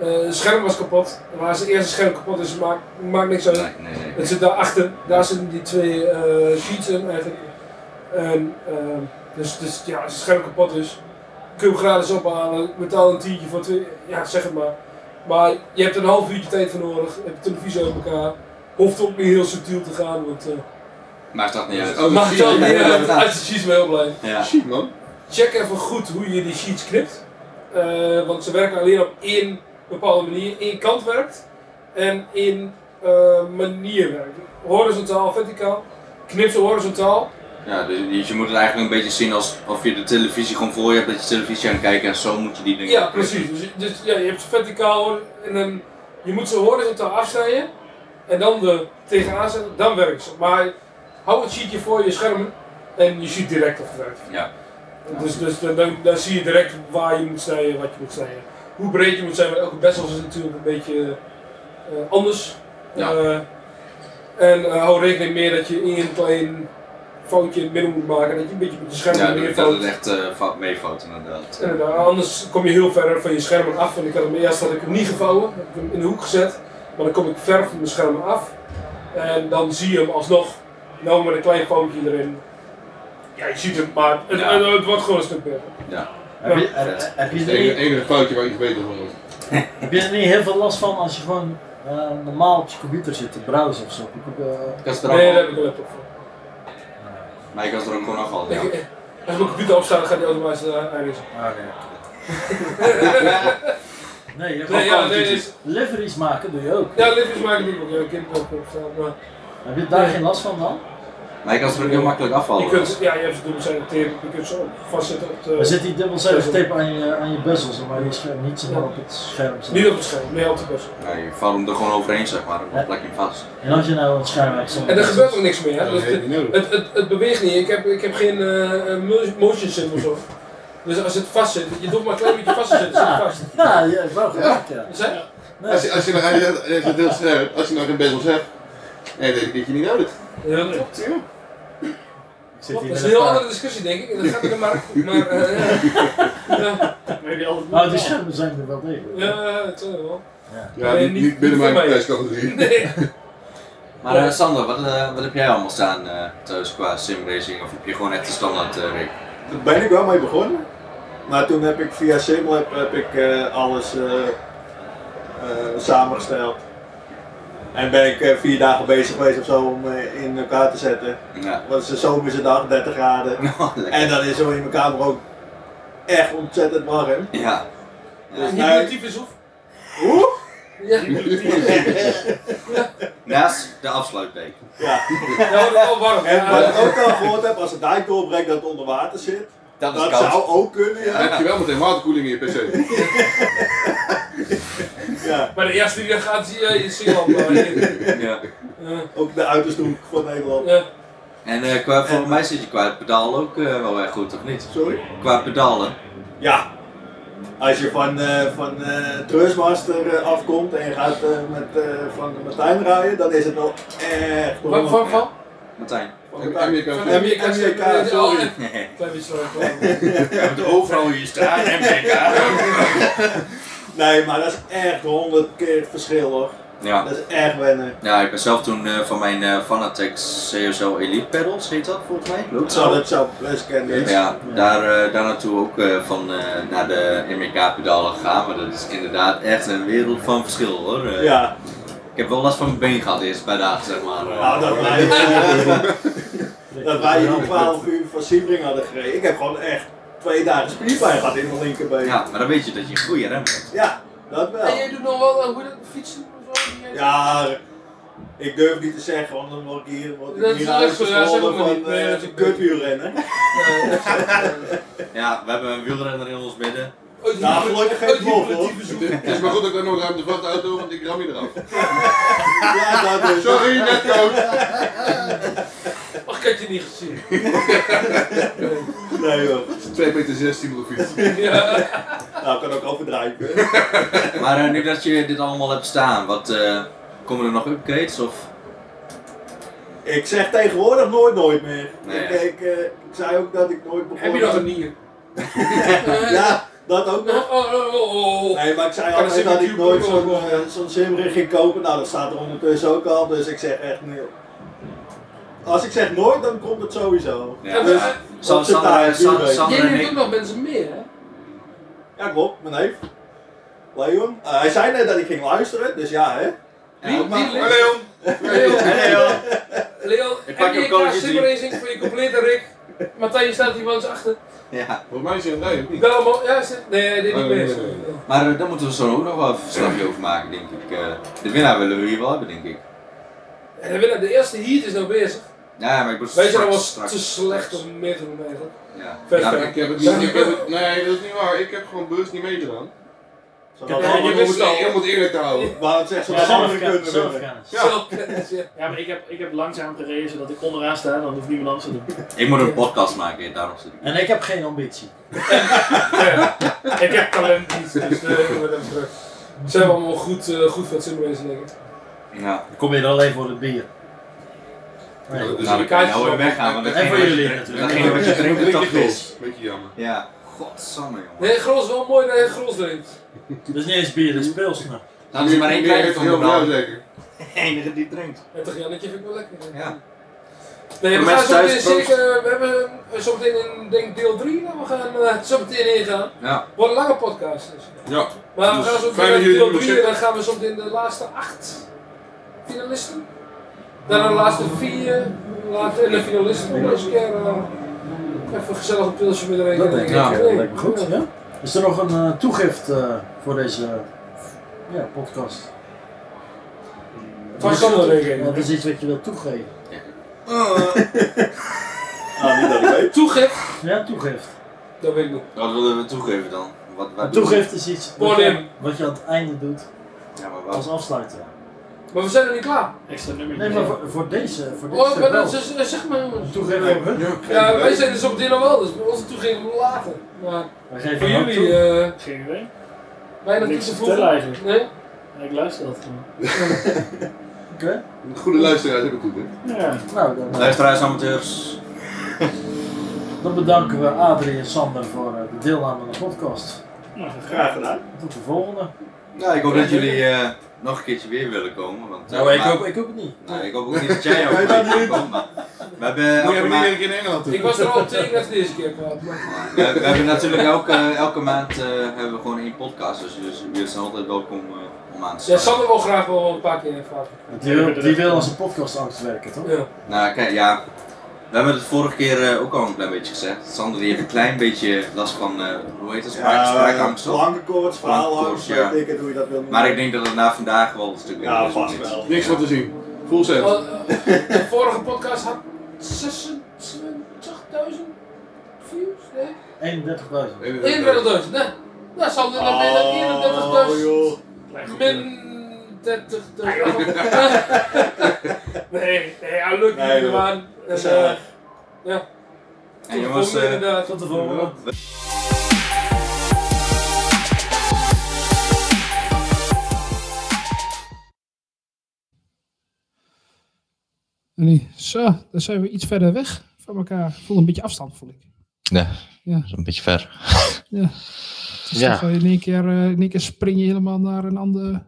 Speaker 5: Eh, het scherm was kapot. Waar zijn eerste scherm kapot is, maakt, maakt niks uit. Het zit daarachter. Daar zitten die twee eh, sheets in eigenlijk. En, ehm, dus, dus ja, als het scherm kapot is, kun je hem gratis ophalen. Betaal een tientje voor twee. Ja, zeg het maar. Maar je hebt er een half uurtje tijd voor nodig. Je hebt de televisie uit elkaar. Hoeft ook niet heel subtiel te gaan. Want, eh,
Speaker 10: Maakt dat niet uit.
Speaker 5: Maakt het wel niet uit. Uit de sheets ben ik heel blij.
Speaker 10: Ja.
Speaker 6: Shit, man.
Speaker 5: Check even goed hoe je die sheets knipt. Eh, want ze werken alleen op één bepaalde manier. Eén kant werkt en één eh, manier werkt. Horizontaal, verticaal. knip ze horizontaal.
Speaker 10: Ja, dus je moet het eigenlijk een beetje zien alsof je de televisie gewoon voor je hebt, dat je televisie aan het kijken en zo moet je die dingen.
Speaker 5: Ja, precies. Dus, dus ja, je hebt ze verticaal en dan, je moet ze horizontaal afsnijden en dan er tegenaan zetten, dan werkt ze. Maar hou het sheetje voor je scherm en je ziet direct of het werkt.
Speaker 10: Ja.
Speaker 5: Dus, dus dan, dan, dan zie je direct waar je moet snijden, wat je moet snijden. Hoe breed je moet zijn, want elke bezel is natuurlijk een beetje eh, anders.
Speaker 10: Ja.
Speaker 5: Eh, en eh, hou rekening mee dat je één klein foutje in het midden moet maken, dat je een beetje met je scherm
Speaker 10: Ja,
Speaker 5: meer
Speaker 10: dat- dat
Speaker 5: fout-
Speaker 10: het echt eh, fout meefout inderdaad.
Speaker 5: Inderdaad, Eh, nou, anders kom je heel ver van je schermen af. En ik had hem eerst had ik hem niet gevouwen, heb ik hem in de hoek gezet. Maar dan kom ik ver van mijn schermen af. En dan zie je hem alsnog, nou met een klein foutje erin. Ja, je ziet hem, maar het,
Speaker 6: Ja.
Speaker 5: het, het wordt gewoon een stuk beter.
Speaker 10: Ja.
Speaker 7: Heb je- heb- heb je
Speaker 6: Het
Speaker 7: die-
Speaker 6: enige- enige foutje waar iets beter van wordt.
Speaker 7: Heb je er niet heel veel last van als je gewoon eh, normaal op je computer zit te browsen of zo? Ik heb, eh,
Speaker 10: Dat is er allemaal.
Speaker 5: ik een laptop voor.
Speaker 10: Maar ik was er ook gewoon afgehaald, ja.
Speaker 5: Ik- eh, [LAUGHS] Als mijn computer opstaat, gaat die automatisch eh, eindigen.
Speaker 10: Ah,
Speaker 7: Nee, je hebt
Speaker 5: Nee,
Speaker 7: ook
Speaker 5: ja,
Speaker 7: Call of
Speaker 5: nee,
Speaker 7: Duty.
Speaker 5: dus-
Speaker 7: liveries maken doe je ook.
Speaker 5: [LAUGHS] Ja, liftjes maken die ook. Ja, ik heb hem ook opstaan. Maar...
Speaker 7: Heb je daar geen last van dan?
Speaker 10: Maar ik kan ze er ook heel makkelijk afhalen.
Speaker 5: Je kunt, ja, je hebt ze dubbel zijn tape, je kunt ze ook vastzetten op de...
Speaker 7: Er zit die dubbel zeven
Speaker 5: bezel.
Speaker 7: tape aan je, aan je bezel, zodat je scherm niet zomaar op het scherm zit.
Speaker 5: Niet op het scherm, meer op de bezel.
Speaker 10: Nee, je vouwt hem er gewoon overheen, zeg maar. Dan plak je hem vast.
Speaker 7: En als je nou een scherm hebt zonder
Speaker 5: En er
Speaker 7: bezel-
Speaker 5: gebeurt ook niks meer. Hè? Dus het, het, het, het beweegt niet. Ik heb, ik heb geen eh, eh, mo- motion symbols of. Dus als het vast zit, je doet maar een klein beetje vast te zitten, zit het vast.
Speaker 7: Ja, ja, is wel gewerkt, ja.
Speaker 5: Dus, hè?
Speaker 6: Als je, als je nog hij zegt- hij zegt heel scherp, als je nog geen bezels hebt, nee, dat heb je niet nodig.
Speaker 5: Ja, dat klopt. Klopt, Dat is een heel andere discussie, denk ik. En dat gaat in de markt. Maar, [LAUGHS] eh, ja.
Speaker 7: Nou, die schermen zijn er wel degelijk.
Speaker 5: Ja, het zijn er wel.
Speaker 6: Ja,
Speaker 5: Nee,
Speaker 6: niet, niet binnen
Speaker 5: voor
Speaker 6: mijn
Speaker 5: mij. [LAUGHS]
Speaker 6: prijscategorie.
Speaker 5: Nee.
Speaker 10: Maar eh, Sander, wat, eh, wat heb jij allemaal staan eh, thuis qua simracing? Of heb je gewoon echt de standaard eh rig?
Speaker 5: [LAUGHS]
Speaker 12: Daar ben ik wel mee begonnen. Maar toen heb ik via Simlab heb ik, eh, alles eh, eh, samengesteld. En ben ik eh, vier dagen bezig geweest of zo om eh, in elkaar te zetten.
Speaker 10: Ja. Oh,
Speaker 12: Want het is een zomerse dag, 30
Speaker 10: [LAUGHS]
Speaker 12: graden. en dan is zo in mijn kamer ook echt ontzettend warm.
Speaker 10: Ja.
Speaker 12: Dus
Speaker 5: Ja.
Speaker 12: nou,
Speaker 5: Hypnotief is hoef.
Speaker 12: Hoe? [LAUGHS]
Speaker 5: Ja.
Speaker 10: Naast de afsluitbeek.
Speaker 12: Ja.
Speaker 5: Ja, dat is wel warm.
Speaker 12: En wat ik ook al gehoord heb, als een dijk doorbreekt dat het onder water zit.
Speaker 10: Dat
Speaker 6: is koud.
Speaker 12: zou ook kunnen,
Speaker 6: Dan heb
Speaker 12: ja.
Speaker 6: je wel meteen waterkoeling in je pc.
Speaker 12: ja.
Speaker 5: [LAUGHS] Maar de eerste die dat gaat, zie je in Zeeland. maar hier.
Speaker 10: Ja.
Speaker 5: Ja.
Speaker 12: Ook de uiterste hoek van Nederland.
Speaker 5: Ja.
Speaker 10: En eh, qua, volgens mij zit je qua pedaal ook eh, wel erg goed, of niet?
Speaker 12: Sorry?
Speaker 10: Qua pedalen.
Speaker 12: Ja. Als je van, eh van eh Trustmaster eh, afkomt en je gaat eh, met eh, van Martijn rijden, dan is het wel echt
Speaker 5: Wat van? van?
Speaker 10: Martijn.
Speaker 12: Van Martijn.
Speaker 6: Amerika.
Speaker 5: Van
Speaker 12: MJK,
Speaker 5: MJK,
Speaker 12: sorry.
Speaker 10: Nee.
Speaker 5: Klein beetje zo.
Speaker 10: Met overal je straat en
Speaker 12: [LAUGHS] Nee, maar dat is echt honderd keer het verschil hoor.
Speaker 10: Ja.
Speaker 12: Dat is echt wennen.
Speaker 10: Ja, ik ben zelf toen eh, van mijn eh, Fanatec CSL Elite pedals, heet dat volgens mij? Loopt
Speaker 12: Zo, dat zou best kennen.
Speaker 10: Ja, daar, eh, daar naartoe ook eh, van eh, naar de MK-pedalen gegaan, maar dat is inderdaad echt een wereld van verschil hoor. Eh,
Speaker 12: Ja.
Speaker 10: Ik heb wel last van mijn been gehad eerst bij dagen, zeg maar. eh.
Speaker 12: Nou,
Speaker 10: [LAUGHS]
Speaker 12: dat wij, eh, [LAUGHS] dat wij die 12 uur van Siebring hadden gereden. Ik heb gewoon echt twee dagen spierpijn gehad in mijn linkerbeen.
Speaker 10: Ja, maar dan weet je dat je een goede rem hebt.
Speaker 12: Ja, dat
Speaker 5: En
Speaker 12: wel.
Speaker 5: jij doet nog wel een goede fietsen of zo? die jij-
Speaker 12: Ja, ik durf niet te zeggen, want dan word ik hier, word
Speaker 5: Dat
Speaker 12: ik
Speaker 5: is
Speaker 12: hier
Speaker 5: echt zo, ja, zeg
Speaker 12: uitgescholden
Speaker 5: maar niet.
Speaker 12: van
Speaker 5: Nee, dat
Speaker 12: eh
Speaker 5: is
Speaker 12: een
Speaker 5: ook
Speaker 12: kutwielrenner.
Speaker 10: Ja, we hebben een wielrenner in ons midden.
Speaker 12: Nou, gelukkig geen vlog, hoor.
Speaker 6: Het is maar goed dat ik daar nog ruimte van de auto, want ik ram je eraf.
Speaker 12: Ja, dat is
Speaker 6: Sorry, net coach.
Speaker 5: Ach, ik had je niet gezien.
Speaker 12: Nee hoor.
Speaker 6: 2 meter 16 op de fiets.
Speaker 12: [LAUGHS]
Speaker 5: Ja.
Speaker 12: Nou, kan ook overdrijven.
Speaker 10: Maar eh, nu dat je dit allemaal hebt staan, wat, eh, komen er nog upgrades of?
Speaker 12: Ik zeg tegenwoordig nooit nooit meer.
Speaker 10: Nee,
Speaker 12: ik,
Speaker 10: ja.
Speaker 12: ik, eh, ik zei ook dat ik nooit begon.
Speaker 5: Heb je nog een nier?
Speaker 12: [LAUGHS] Ja, dat ook nog.
Speaker 5: Oh, oh, oh, oh.
Speaker 12: Nee, maar ik zei
Speaker 5: Kan
Speaker 12: altijd
Speaker 5: een
Speaker 12: dat ik
Speaker 5: Simcube
Speaker 12: nooit
Speaker 5: ook
Speaker 12: zo'n
Speaker 5: wel.
Speaker 12: eh, zo'n simring ging kopen. Nou, dat staat er ondertussen ook al, dus ik zeg echt nul. Als ik zeg nooit, dan komt het sowieso.
Speaker 10: Ja,
Speaker 5: dus-
Speaker 10: ja. Sa-
Speaker 12: Op z'n
Speaker 10: Sander, eh,
Speaker 12: taai,
Speaker 10: Sa-
Speaker 12: wielrennen.
Speaker 10: Sander
Speaker 5: Jij
Speaker 10: en
Speaker 5: neemt ook
Speaker 10: ik.
Speaker 5: nog mensen mee, hè?
Speaker 12: Ja, klopt, mijn neef. Leon. Eh, hij zei net dat ik ging luisteren, dus ja, hè.
Speaker 5: Wie? Wie?
Speaker 6: Hoi Leon!
Speaker 5: Leon,
Speaker 10: Hey, joh.
Speaker 5: Leon,
Speaker 10: Ik pak je op
Speaker 5: MJK
Speaker 10: college drie.
Speaker 5: Simracing voor je complete Rick. Matthijs staat hier wel eens achter.
Speaker 10: Ja,
Speaker 6: Volgens mij is hij een rij, of niet?
Speaker 5: Bel hem op. Ja, zit- nee, hij deed niet
Speaker 6: Oh, nee,
Speaker 5: mee.
Speaker 6: nee,
Speaker 5: sorry.
Speaker 6: nee.
Speaker 10: maar eh, daar moeten we zo ook nog wel een verslagje over maken, denk ik. eh. de winnaar willen we hier wel hebben, denk ik.
Speaker 5: En dan wil hij- de eerste heat is nou bezig.
Speaker 10: Ja, maar ik was
Speaker 5: Weet je, dat
Speaker 10: straks-
Speaker 5: was
Speaker 10: straks-
Speaker 5: te slecht om meer te doen eigenlijk.
Speaker 10: Ja.
Speaker 5: Vet
Speaker 6: Ja,
Speaker 5: ver.
Speaker 6: ik heb het niet, ik heb het, nee, dat is niet waar. Ik heb gewoon bewust niet meegedaan.
Speaker 5: Ja, je
Speaker 6: je
Speaker 5: wist
Speaker 6: wist het
Speaker 5: al.
Speaker 6: helemaal nou, eerlijk te houden.
Speaker 12: Maar het
Speaker 9: Ja, zelfkennis, zelfkennis.
Speaker 6: Ja.
Speaker 9: Ja. maar ik heb, ik heb langzaam gereden zodat ik onderaan sta, dan hoeft niemand anders te doen.
Speaker 10: Ik moet een podcast maken, daarom zit ik.
Speaker 7: En ik heb geen ambitie.
Speaker 5: [LAUGHS] Ik heb talent niet, dus eh, ik ben even terug. Zijn we allemaal goed, eh, goed voor het simracen denk ik.
Speaker 10: Ja.
Speaker 7: Dan kom je er alleen voor het bier.
Speaker 6: Nou, dus de
Speaker 10: Nou, dan kan je
Speaker 6: kaartjes
Speaker 10: nou weer
Speaker 6: wel-
Speaker 10: weggaan, want
Speaker 6: en-
Speaker 10: datgene
Speaker 6: en
Speaker 10: wat je
Speaker 6: jullie
Speaker 10: drinkt-
Speaker 6: natuurlijk.
Speaker 10: datgene wat je
Speaker 6: Ja,
Speaker 10: drinkt,
Speaker 6: dat
Speaker 10: dat
Speaker 6: is gros.
Speaker 10: is.
Speaker 6: Beetje jammer.
Speaker 10: Ja, godsamme jongen.
Speaker 5: Nee, Gros wel mooi dat je Gros drinkt.
Speaker 7: Dat is Dus niet eens bier, dat is pilsner.
Speaker 10: Dan is er maar één
Speaker 6: Meer
Speaker 10: kleine
Speaker 6: heeft
Speaker 10: van
Speaker 6: heel
Speaker 10: de
Speaker 6: blauw
Speaker 10: brand.
Speaker 7: [LAUGHS]
Speaker 6: zeker.
Speaker 10: enige die drinkt.
Speaker 5: En toch Jannetje vind ik wel lekker. hè?
Speaker 10: Ja.
Speaker 5: Nee, [LAUGHS]
Speaker 10: Voor
Speaker 5: we gaan
Speaker 10: mensen
Speaker 5: zo meteen
Speaker 10: thuis, proost.
Speaker 5: zeker, we hebben eh, zo meteen in denk ik, deel 3 waar we gaan eh, zo meteen in gaan.
Speaker 10: Ja.
Speaker 5: Wordt een lange podcast dus.
Speaker 6: Ja.
Speaker 5: Maar we
Speaker 6: Dus
Speaker 5: gaan zo
Speaker 6: fijn
Speaker 5: meteen
Speaker 6: dat
Speaker 5: in
Speaker 6: jullie
Speaker 5: deel
Speaker 6: nog
Speaker 5: 3 en
Speaker 6: zitten.
Speaker 5: dan gaan we zo meteen de laatste 8 finalisten. Daarna de laatste 4, later en de finalisten. Om eens een keer eh, even gezellig een pilsje met iedereen.
Speaker 7: Dat denk ik. Ja,
Speaker 5: Ja.
Speaker 7: dat lijkt me goed. Ja. Is er nog een eh, toegift eh, voor deze eh, ja, podcast?
Speaker 5: Van Sander, denk ik.
Speaker 7: Ja, Dat is iets wat je wilt toegeven.
Speaker 10: Ah,
Speaker 12: Nou, niet dat ik weet.
Speaker 5: Toegift,
Speaker 7: Ja, [LAUGHS] toegift.
Speaker 5: dat weet ik nog.
Speaker 10: Wat willen we toegeven dan? Wat, wat
Speaker 7: Een
Speaker 10: doen we?
Speaker 7: toegift is iets wat
Speaker 5: Voor
Speaker 7: je,
Speaker 5: hem.
Speaker 7: wat je aan het einde doet
Speaker 10: Ja, maar
Speaker 7: als
Speaker 10: wat?
Speaker 7: afsluiter.
Speaker 5: Maar we zijn nog niet klaar.
Speaker 9: Extra nummer.
Speaker 7: Nee, maar voor, voor deze, eh, voor dit
Speaker 5: Oh,
Speaker 7: stuk
Speaker 5: maar
Speaker 7: wel.
Speaker 5: dat is, eh, zeg maar jongens.
Speaker 7: Toegeven voor hun.
Speaker 5: Ja, wij zijn dus op dit nog wel, dus bij ons toe gingen we later. Maar
Speaker 7: Wij geven
Speaker 5: voor
Speaker 7: hem ook toe.
Speaker 5: jullie, eh
Speaker 9: Geen idee.
Speaker 5: weinig toe
Speaker 9: Niks
Speaker 5: te
Speaker 9: te
Speaker 5: voegen.
Speaker 9: vertellen eigenlijk.
Speaker 5: Nee?
Speaker 9: Ik luister dat gewoon.
Speaker 5: [LAUGHS]
Speaker 7: Oké.
Speaker 6: Een goede luisteraar heb ik goed, hè.
Speaker 9: Ja.
Speaker 7: Nou, dan, eh,
Speaker 10: Luisteraars,
Speaker 7: [LAUGHS]
Speaker 10: amateurs.
Speaker 7: dan bedanken we Adrie en Sander voor eh, de deelname aan de podcast.
Speaker 12: Graag gedaan.
Speaker 7: Tot de volgende.
Speaker 10: Nou, ik hoop dat jullie eh, nog een keertje weer willen komen. Want, eh, maar-
Speaker 7: ik ook niet.
Speaker 10: Nou, ik hoop ook niet dat
Speaker 7: [LAUGHS]
Speaker 10: jij ook weer wil komen. maar We hebben,
Speaker 6: Moet je
Speaker 10: elke
Speaker 6: hem niet
Speaker 10: maand,
Speaker 6: eerlijk in Engeland doen.
Speaker 5: Ik was er al tegen dat het de eerste keer kwam.
Speaker 10: we, hebben- [LAUGHS] we hebben natuurlijk elke, elke maand eh, hebben we gewoon één podcast. Dus jullie jullie zijn altijd welkom eh, om aan te
Speaker 5: Ja,
Speaker 10: sluiten.
Speaker 5: Sander wil graag wel een paar keer ervaren.
Speaker 7: Die wil, die wil als een podcast achterwerken, toch?
Speaker 5: Ja.
Speaker 10: Nou, kijk, ja. We hebben het vorige keer eh, ook al een klein beetje gezegd. Sander die heeft een klein beetje last van, eh, hoe heet het, spraak, spraakangst, toch?
Speaker 12: eh, Lange koorts, verhaalangst,
Speaker 10: Lange koorts, ja.
Speaker 12: weet ik het, hoe je dat wil noemen.
Speaker 10: Maar ik denk dat het na vandaag wel een stuk
Speaker 12: Ja,
Speaker 10: is,
Speaker 12: vast
Speaker 10: of niet?
Speaker 12: wel.
Speaker 6: Niks van te zien. Full set.
Speaker 5: Want, eh, De vorige podcast had 26.000 views? Nee?
Speaker 7: 31.000.
Speaker 5: 31.000, nee. Nou, Sander, dan ben
Speaker 12: Oh,
Speaker 5: je
Speaker 12: joh.
Speaker 9: Klein
Speaker 5: 31.000.
Speaker 9: goed.
Speaker 5: Min 30.000. Nee, nee, ja, lukt
Speaker 12: Nee,
Speaker 5: niet,
Speaker 12: joh.
Speaker 5: man. En, eh,
Speaker 12: Gezellig.
Speaker 5: Ja. Tot
Speaker 10: En
Speaker 5: de
Speaker 10: jongens,
Speaker 5: volgende,
Speaker 10: eh,
Speaker 5: inderdaad.
Speaker 7: Tot de volgende.
Speaker 13: Nee, zo, dan zijn we iets verder weg van elkaar. Ik voel een beetje afstand, voel ik.
Speaker 3: Een beetje ver.
Speaker 13: Het is toch wel in één keer, eh, in één keer spring je helemaal naar een ander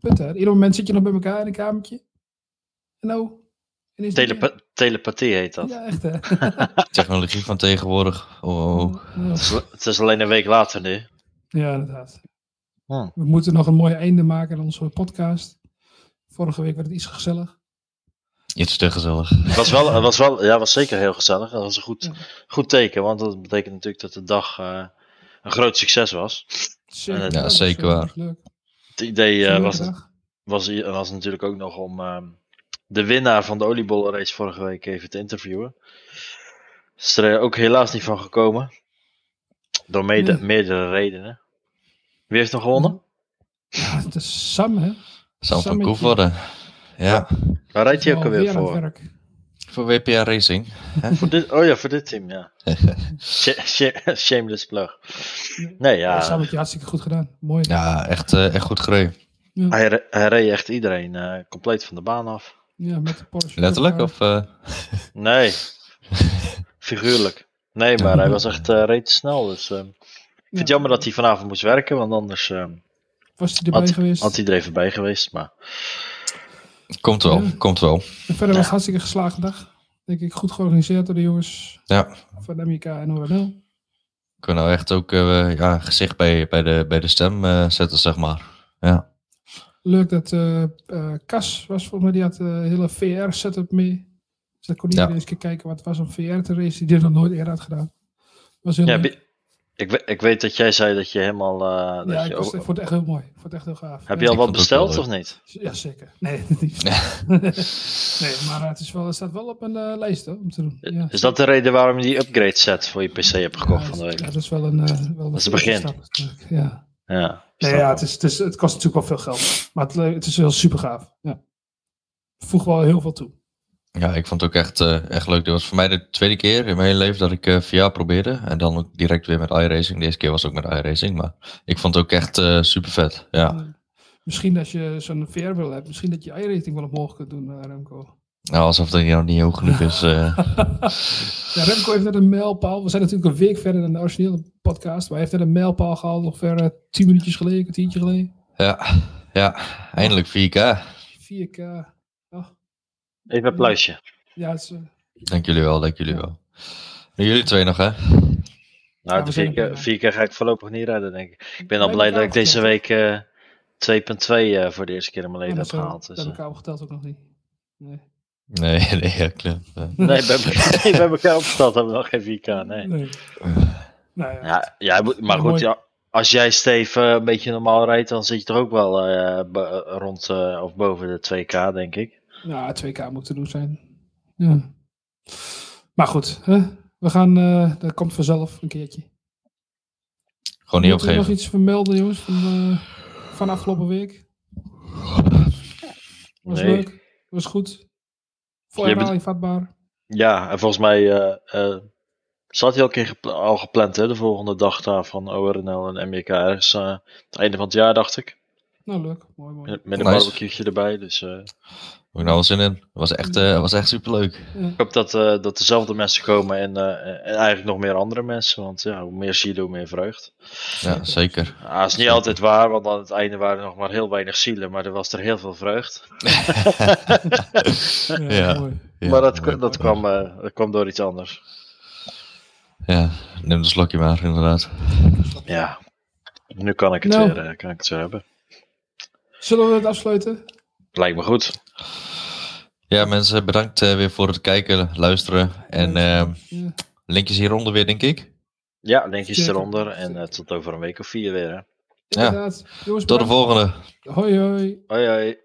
Speaker 13: punt. Hè? Ieder moment zit je nog bij elkaar in een kamertje. En nou, ineens niet meer.
Speaker 3: Telepa- telepathie heet dat. [LAUGHS]
Speaker 13: Ja, echt hè.
Speaker 14: Technologie van tegenwoordig. Oh, oh.
Speaker 13: Ja.
Speaker 3: Het is, het is alleen een week later nu.
Speaker 13: Ja, inderdaad.
Speaker 3: Ja.
Speaker 13: We moeten nog een mooi einde maken aan onze podcast. Vorige week werd het iets gezellig.
Speaker 14: Iets te gezellig.
Speaker 3: Het was, wel, het was, wel, ja, het was zeker heel gezellig. Dat was een goed, goed teken, want dat betekent natuurlijk dat de dag eh, een groot succes was.
Speaker 13: Zeker,
Speaker 3: Eh,
Speaker 14: Ja,
Speaker 13: was,
Speaker 14: zeker
Speaker 13: eh,
Speaker 14: waar.
Speaker 13: was Leuk.
Speaker 3: Het idee eh, was,
Speaker 13: Gezellig.
Speaker 3: was, was natuurlijk ook nog om ehm, de winnaar van de oliebollenrace vorige week even te interviewen. Is er eh, ook helaas niet van gekomen. Door mede-
Speaker 13: Nee.
Speaker 3: meerdere redenen. Wie heeft nog gewonnen?
Speaker 13: Ja, het is Sam, hè?
Speaker 14: Sam van
Speaker 13: Sammetje.
Speaker 14: Koevoorde. Ja,
Speaker 3: Waar rijdt hij ook
Speaker 13: Alweer
Speaker 3: alweer
Speaker 13: aan het
Speaker 3: voor?
Speaker 13: werk.
Speaker 14: voor WPA Racing.
Speaker 3: voor dit, oh ja, voor dit team, ja. Sh- sh- shameless plug. Nee,
Speaker 13: Ja.
Speaker 3: ja.
Speaker 13: Sam heeft je hartstikke goed gedaan. Mooi.
Speaker 14: Ja, echt, eh, echt goed gereden.
Speaker 3: Hij, re- hij reed echt iedereen eh, compleet van de baan af.
Speaker 13: Ja, met de Porsche.
Speaker 14: Letterlijk? Of, eh,
Speaker 3: [LAUGHS] Nee, figuurlijk. Nee, maar hij was echt eh, reed te snel. Dus, ehm, ik vind het
Speaker 13: Ja.
Speaker 3: jammer dat hij vanavond moest werken, want anders ehm,
Speaker 13: Was hij erbij
Speaker 3: had,
Speaker 13: geweest?
Speaker 3: had hij er even bij geweest. Maar
Speaker 14: komt wel, komt wel.
Speaker 13: En verder was het hartstikke geslaagde dag. Denk ik goed georganiseerd door de jongens
Speaker 14: Ja,
Speaker 13: van MIK en ONL.
Speaker 14: ik wil nou echt ook eh, ja, gezicht bij, bij, de, bij de stem eh, zetten, zeg maar. Ja,
Speaker 13: Leuk dat eh, eh, Cas was volgens mij, die had eh, een hele VR-setup mee. Dus dat kon
Speaker 14: Ja.
Speaker 13: iedereen eens een keer kijken wat het was om VR te racen, die dit nog nooit eerder had gedaan. Was heel
Speaker 3: ja,
Speaker 13: leuk.
Speaker 3: bi- Ik, we- ik weet dat jij zei dat je helemaal. eh, dat
Speaker 13: ja,
Speaker 3: je
Speaker 13: ik, was,
Speaker 3: ook-
Speaker 13: ik vond het echt heel mooi. Ik vond het echt heel gaaf.
Speaker 3: Heb
Speaker 13: Ja.
Speaker 3: je al wat besteld of niet?
Speaker 13: Ja, zeker. Nee, [LAUGHS] niet.
Speaker 14: [LAUGHS]
Speaker 13: nee maar eh, het, is wel, het staat wel op een eh, lijst hoor, om te doen. Ja,
Speaker 3: Is dat de reden waarom je die upgrade set voor je PC hebt gekocht van de week?
Speaker 13: ja, dat is wel een, eh, wel een
Speaker 3: Dat is het
Speaker 13: eerste
Speaker 3: begin.
Speaker 13: stap natuurlijk, Ja.
Speaker 3: Ja.
Speaker 13: Nee, ja, het, is, het, is, het kost natuurlijk wel veel geld. Maar het, le- het is wel super gaaf. Ja. Voeg wel heel veel toe.
Speaker 10: Ja, ik vond het ook echt, eh, echt leuk. Dit was voor mij de tweede keer in mijn hele leven dat ik eh VR probeerde. En dan ook direct weer met iRacing. De eerste keer was het ook met iRacing. Maar ik vond het ook echt eh, super vet. Ja.
Speaker 13: Misschien als je zo'n VR-bril hebt, misschien dat je i-rating wel omhoog kunt doen, eh, Remco.
Speaker 10: Nou, alsof dat hier nog niet hoog genoeg is. eh.
Speaker 13: Ja, Remco heeft net een mijlpaal. We zijn natuurlijk een week verder dan de originele podcast. Maar hij heeft net een mijlpaal gehaald, ongeveer eh, 10 minuutjes geleden, een kwartiertje geleden.
Speaker 10: ja, ja, eindelijk 4K.
Speaker 13: 4K. Ach,
Speaker 3: Even een applausje.
Speaker 13: ja, het is, eh,
Speaker 10: Dank jullie wel, dank jullie wel. Nu jullie twee nog, hè?
Speaker 3: Nou,
Speaker 10: we zijn
Speaker 3: de vier, keer, vier keer ga ik voorlopig niet redden, denk ik. Ik ben al
Speaker 13: Nee,
Speaker 3: blij
Speaker 13: dat
Speaker 3: dat ik
Speaker 13: kan
Speaker 3: deze week eh, 2.2 eh, voor de eerste keer in mijn
Speaker 13: ja,
Speaker 3: leven
Speaker 13: dat
Speaker 3: heb
Speaker 13: zo-
Speaker 3: gehaald.
Speaker 13: dat
Speaker 3: Dus,
Speaker 13: heb
Speaker 3: eh.
Speaker 13: ik opgeteld ook nog niet. Nee.
Speaker 10: Nee, [LAUGHS] nee, ja, klopt. Ja.
Speaker 3: [LAUGHS] Nee, bij, elkaar- nee, bij elkaar opgesteld hebben we nog geen 4K, nee.
Speaker 13: Nee. Nou ja.
Speaker 3: Ja, jij moet- maar
Speaker 13: Mooi.
Speaker 3: goed, ja, als jij Steve eh, een beetje normaal rijdt, dan zit je toch ook wel eh, bo- eh, rond eh, of boven de 2K, denk ik.
Speaker 13: Ja, 2K moet te doen zijn. Ja. Maar goed, hè? we gaan, eh, dat komt vanzelf een keertje.
Speaker 10: Gewoon niet
Speaker 13: Moeten we
Speaker 10: opgeven.
Speaker 13: nog iets vermelden, jongens, van, eh, van afgelopen week? Was
Speaker 3: Nee.
Speaker 13: leuk, was goed. Voor
Speaker 3: Je hebt-
Speaker 13: herhaling vatbaar.
Speaker 3: Ja, en volgens mij eh, eh, zat hij al, een keer gepla- al gepland, hè, de volgende dag daar van ORNL en MEK. Ergens eh, het einde van het jaar, dacht ik.
Speaker 13: Nou, leuk. Mooi, mooi.
Speaker 3: Met een
Speaker 10: Nice.
Speaker 3: barbecue erbij, dus... eh,
Speaker 10: Heb ik nou wel zin in. Het was echt, eh, het was echt superleuk.
Speaker 3: Ik hoop dat, eh, dat dezelfde mensen komen en, eh, en eigenlijk nog meer andere mensen. Want ja, hoe meer zielen, hoe meer vreugd.
Speaker 10: Ja, zeker.
Speaker 3: Ah, dat is niet altijd waar, want aan het einde waren er nog maar heel weinig zielen. Maar er was er heel veel
Speaker 13: [LAUGHS]
Speaker 3: vreugd.
Speaker 10: Ja, mooi.
Speaker 3: maar dat, dat, kwam, eh, dat kwam door iets anders.
Speaker 10: Ja, neem een slokje maar, inderdaad.
Speaker 3: Ja. Nu kan ik het,
Speaker 13: Nou.
Speaker 3: weer, eh, kan ik het weer hebben.
Speaker 13: Zullen we het afsluiten?
Speaker 3: Lijkt me goed.
Speaker 10: Ja, mensen, bedankt eh, weer voor het kijken, luisteren. En ehm,
Speaker 13: Ja.
Speaker 10: linkjes hieronder weer, denk ik.
Speaker 3: Ja, linkjes eronder. En eh, tot over een week of vier weer. Hè.
Speaker 10: Ja.
Speaker 13: Inderdaad. Jongens,
Speaker 10: Tot de
Speaker 13: bedankt.
Speaker 10: volgende.
Speaker 13: Hoi, hoi.
Speaker 3: Hoi, hoi.